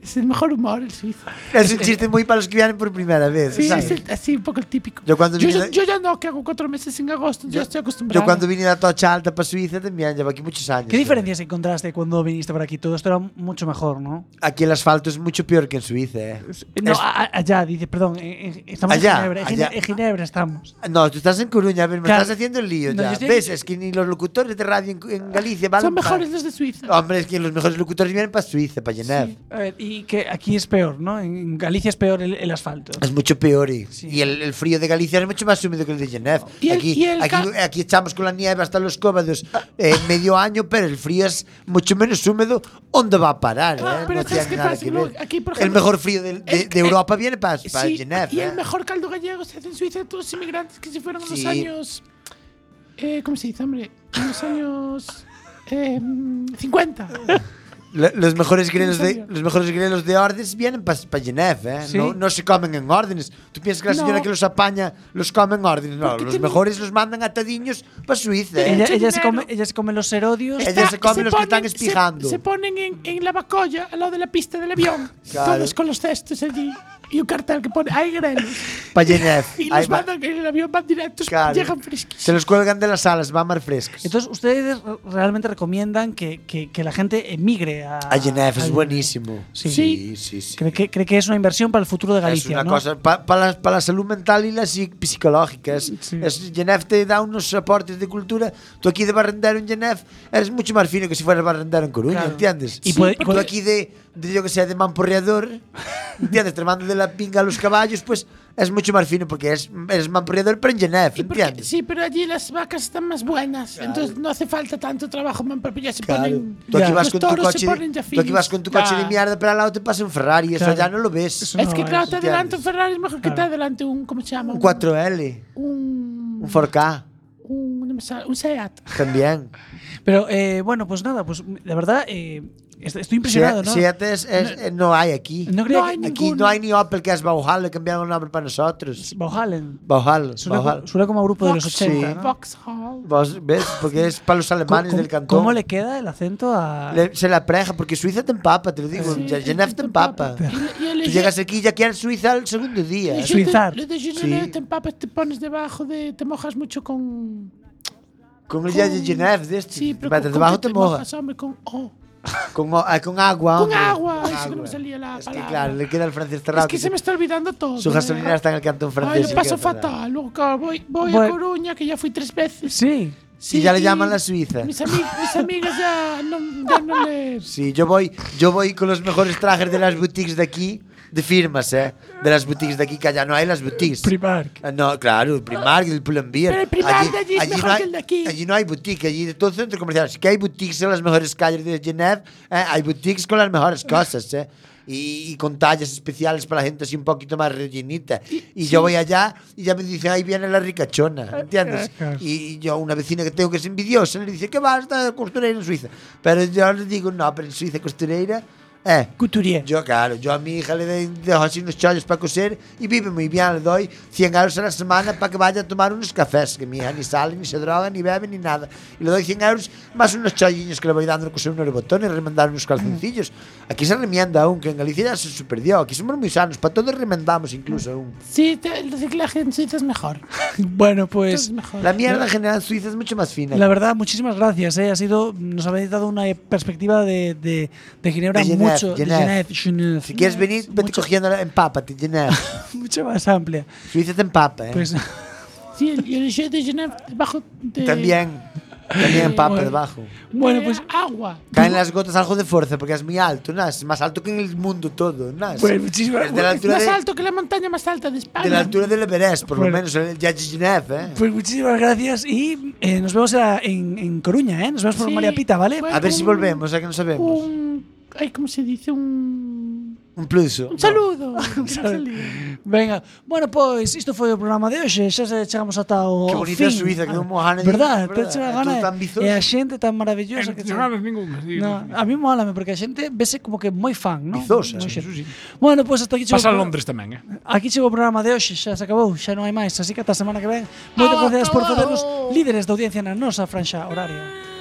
[SPEAKER 11] Es el mejor humor el suizo.
[SPEAKER 5] Es un chiste muy para los que vienen por primera vez.
[SPEAKER 11] Sí,
[SPEAKER 5] ¿sabes?
[SPEAKER 11] es el- así un poco el típico.
[SPEAKER 5] Yo cuando
[SPEAKER 11] yo,
[SPEAKER 5] vine
[SPEAKER 11] ya-
[SPEAKER 5] de-
[SPEAKER 11] yo ya no, que hago cuatro meses en agosto, yo,
[SPEAKER 5] Yo-
[SPEAKER 11] estoy acostumbrado.
[SPEAKER 5] Yo cuando vine de la Tocha Alta para Suiza también llevo aquí muchos años.
[SPEAKER 6] ¿Qué diferencias encontraste cuando viniste por aquí? Todo esto era mucho mejor, ¿no?
[SPEAKER 5] Aquí el asfalto es mucho peor que en Suiza. ¿eh?
[SPEAKER 6] No, ah.
[SPEAKER 5] Es-
[SPEAKER 6] a- a- allá, dice, perdón, en- en- estamos
[SPEAKER 5] Allá,
[SPEAKER 6] en Ginebra. en Gine-
[SPEAKER 5] allá.
[SPEAKER 6] En Ginebra estamos.
[SPEAKER 5] No, tú estás en Coruña, a ver, me
[SPEAKER 6] Claro.
[SPEAKER 5] estás haciendo el lío
[SPEAKER 6] No, yo
[SPEAKER 5] ya.
[SPEAKER 6] estoy-
[SPEAKER 5] ¿Ves? Es que ni los locutores de radio en, en Galicia valen
[SPEAKER 11] Son
[SPEAKER 5] pa-
[SPEAKER 11] mejores los de Suiza.
[SPEAKER 5] Hombre, es que los mejores locutores vienen para Suiza, para llenar.
[SPEAKER 6] A ver, y que aquí es peor, ¿no? En- En Galicia es peor el, el asfalto.
[SPEAKER 5] Es mucho peor. Y, y el, el frío de Galicia es mucho más húmedo que el de Genève.
[SPEAKER 11] Oh, Y el-
[SPEAKER 5] aquí,
[SPEAKER 11] y el
[SPEAKER 5] aquí,
[SPEAKER 11] ca-
[SPEAKER 5] aquí echamos con la nieve hasta los cómodos eh, medio año, pero el frío es mucho menos húmedo. ¿Dónde va a parar?
[SPEAKER 11] Ah,
[SPEAKER 5] eh?
[SPEAKER 11] pero ¿sabes
[SPEAKER 5] no tiene
[SPEAKER 11] qué
[SPEAKER 5] nada
[SPEAKER 11] pasa?
[SPEAKER 5] que
[SPEAKER 11] Luego,
[SPEAKER 5] ver.
[SPEAKER 11] aquí, por
[SPEAKER 5] el
[SPEAKER 11] ejemplo,
[SPEAKER 5] mejor frío de, de-
[SPEAKER 11] el-
[SPEAKER 5] de
[SPEAKER 11] el-
[SPEAKER 5] Europa viene para para
[SPEAKER 11] Sí,
[SPEAKER 5] Genève.
[SPEAKER 11] y el
[SPEAKER 5] eh.
[SPEAKER 11] mejor caldo gallego se hace en Suiza de todos los inmigrantes que se fueron a los
[SPEAKER 5] Sí.
[SPEAKER 11] años. Eh, ¿Cómo se dice, hombre? En los años. eh, 50.
[SPEAKER 5] Lo- Los mejores, grelos
[SPEAKER 11] ¿En
[SPEAKER 5] de,
[SPEAKER 11] serio?
[SPEAKER 5] los mejores grelos de Ordens vienen para Genève, ¿eh?
[SPEAKER 6] Sí.
[SPEAKER 5] No, no se comen en órdenes. ¿Tú piensas que la
[SPEAKER 11] No.
[SPEAKER 5] señora que los apaña los come en órdenes? No,
[SPEAKER 11] Porque
[SPEAKER 5] los
[SPEAKER 11] tiene-
[SPEAKER 5] mejores los mandan atadiños para Suiza, ¿eh?
[SPEAKER 6] Ella,
[SPEAKER 11] Mucho
[SPEAKER 6] ella se
[SPEAKER 11] dinero.
[SPEAKER 6] come, ella se come los herodios.
[SPEAKER 5] Ella se come los que están
[SPEAKER 11] ponen- se-
[SPEAKER 5] espijando.
[SPEAKER 11] Se, ponen en, en la bacolla al lado de la pista del avión.
[SPEAKER 5] Claro.
[SPEAKER 11] Todos con los cestos allí. Y un cartel que pone: hay grelos.
[SPEAKER 5] Para Genève.
[SPEAKER 11] Y
[SPEAKER 5] Ahí
[SPEAKER 11] los
[SPEAKER 5] va.
[SPEAKER 11] mandan en el avión, van directos,
[SPEAKER 5] Claro.
[SPEAKER 11] llegan fresquitos.
[SPEAKER 5] Se los cuelgan de las alas, van mar frescos.
[SPEAKER 6] Entonces, ustedes re- realmente recomiendan que, que- que la gente emigre a,
[SPEAKER 5] A Genève Ah, es
[SPEAKER 6] al-
[SPEAKER 5] buenísimo.
[SPEAKER 6] Sí.
[SPEAKER 5] sí, sí.
[SPEAKER 6] Cree que, cree que es una inversión para el futuro de Galicia.
[SPEAKER 5] es una
[SPEAKER 6] ¿no?
[SPEAKER 5] cosa para la, pa la salud mental y la psi- psicológica. Es, es- Genève te da unos aportes de cultura. Tú aquí de barrendero en Genève eres mucho más fino que si fueras barrendero en Coruña,
[SPEAKER 6] Claro.
[SPEAKER 5] ¿entiendes?
[SPEAKER 6] Y Sí, puede-
[SPEAKER 5] tú
[SPEAKER 6] porque-
[SPEAKER 5] aquí de, de, yo que sé, de mamporreador, ¿entiendes? Te mando de la pinga a los caballos, pues es mucho más fino porque es, eres mamporreador, pero en Genève,
[SPEAKER 11] Y porque-
[SPEAKER 5] ¿entiendes?
[SPEAKER 11] sí, pero allí las vacas están más buenas. Entonces no hace falta tanto trabajo, man, porque ya se
[SPEAKER 5] Claro.
[SPEAKER 11] ponen.
[SPEAKER 5] Tú aquí,
[SPEAKER 11] ya,
[SPEAKER 5] vas
[SPEAKER 11] los
[SPEAKER 5] con tu
[SPEAKER 11] toros se
[SPEAKER 5] coche,
[SPEAKER 11] ponen
[SPEAKER 5] de-
[SPEAKER 11] ya
[SPEAKER 5] tú aquí
[SPEAKER 11] finos.
[SPEAKER 5] vas con tu coche de
[SPEAKER 11] Ya.
[SPEAKER 5] mierda, pero al lado te pasa un Ferrari, eso
[SPEAKER 6] Claro.
[SPEAKER 5] ya no lo ves.
[SPEAKER 6] Eso
[SPEAKER 11] Es
[SPEAKER 6] No,
[SPEAKER 11] que claro, te
[SPEAKER 5] ¿entiendes?
[SPEAKER 11] adelanta un Ferrari, es mejor que te
[SPEAKER 6] Claro.
[SPEAKER 11] adelante un. ¿Cómo se llama?
[SPEAKER 5] Un 4L,
[SPEAKER 11] Un.
[SPEAKER 5] un 4K
[SPEAKER 11] Un, no me sale, un SEAT.
[SPEAKER 5] también.
[SPEAKER 6] Pero eh, bueno, pues nada, pues la verdad, eh, est- estoy impresionado,
[SPEAKER 5] Seat,
[SPEAKER 6] ¿no?
[SPEAKER 5] Seat es- es- eh, no hay aquí.
[SPEAKER 6] No creía
[SPEAKER 11] No
[SPEAKER 6] que-
[SPEAKER 11] hay
[SPEAKER 5] aquí
[SPEAKER 11] ninguno.
[SPEAKER 5] no hay ni Opel que es Bauhaus, le cambiaron el nombre para nosotros.
[SPEAKER 6] Bauhalen.
[SPEAKER 5] Bauhaus,
[SPEAKER 6] Suena,
[SPEAKER 5] Bauhaus.
[SPEAKER 6] co- suena como a grupo de los
[SPEAKER 11] Vox-
[SPEAKER 6] 80.
[SPEAKER 5] sí.
[SPEAKER 6] ¿no?
[SPEAKER 11] Vauxhall.
[SPEAKER 5] Vos ves, porque es para los alemanes
[SPEAKER 6] ¿Cómo-
[SPEAKER 5] del
[SPEAKER 6] cómo-
[SPEAKER 5] cantón.
[SPEAKER 6] ¿Cómo le queda el acento a.?
[SPEAKER 5] Le- se la preja, porque Suiza te empapa, te lo digo.
[SPEAKER 11] Sí,
[SPEAKER 5] Ya- Genève te empapa.
[SPEAKER 11] Y- y el-
[SPEAKER 5] Tú llegas aquí y ya quieres Suiza al segundo
[SPEAKER 11] y
[SPEAKER 5] día.
[SPEAKER 11] el-
[SPEAKER 5] ¿eh?
[SPEAKER 6] Suizar.
[SPEAKER 11] Lo de Genève
[SPEAKER 5] Sí.
[SPEAKER 11] te empapas, te pones debajo de. Te mojas mucho con.
[SPEAKER 5] Con el día de Genève, de este.
[SPEAKER 11] Sí, pero.
[SPEAKER 5] Vete
[SPEAKER 11] con- con
[SPEAKER 5] debajo
[SPEAKER 11] que
[SPEAKER 5] te mojas.
[SPEAKER 11] mojas, hombre, con. oh,
[SPEAKER 5] Con, o- ah, con agua.
[SPEAKER 11] con
[SPEAKER 5] hombre.
[SPEAKER 11] agua.
[SPEAKER 5] Con
[SPEAKER 11] Ay, sí que no
[SPEAKER 5] agua.
[SPEAKER 11] me salía la
[SPEAKER 5] Es que,
[SPEAKER 11] palabra.
[SPEAKER 5] claro, le queda el francés
[SPEAKER 11] es
[SPEAKER 5] cerrado.
[SPEAKER 11] que se me está olvidando todo.
[SPEAKER 5] Su
[SPEAKER 11] ¿eh?
[SPEAKER 5] gasolinera está en el cantón francés.
[SPEAKER 11] Ay,
[SPEAKER 5] sí
[SPEAKER 11] lo
[SPEAKER 5] que
[SPEAKER 11] paso
[SPEAKER 5] es verdad.
[SPEAKER 11] fatal. Luego, claro, voy, voy a
[SPEAKER 6] Bueno.
[SPEAKER 11] Coruña, que ya fui tres veces.
[SPEAKER 6] Sí.
[SPEAKER 11] Sí,
[SPEAKER 5] y ya le
[SPEAKER 11] y
[SPEAKER 5] llaman la Suiza.
[SPEAKER 11] Mis, ami- mis amigas ya no, ya no le.
[SPEAKER 5] Sí, yo voy, yo voy con los mejores trajes de las boutiques de aquí, de firmas, ¿eh? De las boutiques de aquí, que allá no hay las boutiques.
[SPEAKER 6] Primark.
[SPEAKER 5] Ah, No, claro, el Primark, el Pull&Bear.
[SPEAKER 11] Pero el Primark de allí es mejor
[SPEAKER 5] no hay,
[SPEAKER 11] que el de aquí.
[SPEAKER 5] Allí no hay boutique, allí de todo centro comercial. Sí que hay boutiques en las mejores calles de Genève, ¿eh? hay boutiques con las mejores cosas, ¿eh? Y, y con tallas especiales para la gente así un poquito más rellenita. Y yo voy allá y ya me dicen, ahí viene la ricachona, ¿entiendes? Y yo, una vecina que tengo que es envidiosa, le dice, ¿qué vas esta costureira en Suiza? Pero yo le digo, no, pero en Suiza costureira... Eh,
[SPEAKER 6] Couturier.
[SPEAKER 5] yo, claro, yo a mi hija le doy- dejo así unos chollos para coser y vive muy bien. Le doy 100 euros a la semana para que vaya a tomar unos cafés, que mi hija ni sale, ni se droga, ni bebe, ni nada. Y le doy 100 euros más unos cholliños que le voy dando a coser unos botones, remendar unos calzoncillos. Aquí se remienda aún, que en Galicia ya se superdió. Aquí somos muy sanos, para todos remendamos incluso aún.
[SPEAKER 11] Sí, te- el reciclaje en Suiza es mejor.
[SPEAKER 6] Bueno, pues.
[SPEAKER 11] es mejor.
[SPEAKER 5] La mierda en general suiza es mucho más fina.
[SPEAKER 6] La verdad, muchísimas gracias. eh. Ha sido, nos habéis dado una perspectiva de, de, de Ginebra
[SPEAKER 5] De Genève,
[SPEAKER 6] mucho. de
[SPEAKER 5] Genève.
[SPEAKER 6] Genève, Genève.
[SPEAKER 5] si quieres venir, vete cogiendo la empapa, te llenas.
[SPEAKER 6] mucho más amplia.
[SPEAKER 5] Suiza te empapa, ¿eh?
[SPEAKER 6] Pues,
[SPEAKER 11] Sí, el- y el Jeu de Genève debajo de.
[SPEAKER 5] También, también empapa
[SPEAKER 11] Bueno.
[SPEAKER 5] debajo.
[SPEAKER 11] Bueno, pues. Agua.
[SPEAKER 5] Caen las gotas algo de fuerza porque es muy alto, ¿no? Es más alto que en el mundo todo, ¿no? Es- es de la altura
[SPEAKER 11] Más
[SPEAKER 5] de,
[SPEAKER 11] alto que la montaña más alta de España.
[SPEAKER 5] de la altura del Everest, por
[SPEAKER 6] Bueno.
[SPEAKER 5] lo menos, el Yadji Genève, ¿eh?
[SPEAKER 6] pues muchísimas gracias y eh, nos vemos a- en, en Coruña, ¿eh? Nos vemos por
[SPEAKER 11] Sí.
[SPEAKER 6] María Pita, ¿vale?
[SPEAKER 11] Bueno.
[SPEAKER 5] A ver si volvemos, ya que no sabemos.
[SPEAKER 11] Un. Ay, ¿cómo se dice? Un.
[SPEAKER 5] Un pluso.
[SPEAKER 11] Un saludo. un
[SPEAKER 6] saludo. Venga, bueno, pues, pois isto foi o programa de hoxe Xa se chegamos ata o
[SPEAKER 5] Que bonita
[SPEAKER 6] fin Ah,
[SPEAKER 5] Suiza, que non mo gana
[SPEAKER 6] Verdad,
[SPEAKER 5] ningún,
[SPEAKER 6] verdad.
[SPEAKER 5] verdad.
[SPEAKER 6] gana
[SPEAKER 5] Tú tan
[SPEAKER 6] E
[SPEAKER 5] vizoso.
[SPEAKER 6] a xente tan maravillosa que
[SPEAKER 8] Non ganas ninguna. sí.
[SPEAKER 6] No, a mí mólame porque a xente vese como que moi fan, non?
[SPEAKER 5] Vizosa,
[SPEAKER 6] Moi
[SPEAKER 5] sí,
[SPEAKER 6] xente. Bueno, pois hasta aquí chegou.
[SPEAKER 8] Pasa a
[SPEAKER 6] o pro-
[SPEAKER 8] Londres tamén, eh.
[SPEAKER 6] Aquí chegou o programa de hoxe, xa se acabou, xa non hai máis, así que ata a semana que ven. Moitas gracias por facernos líderes da audiencia na nosa franxa horaria.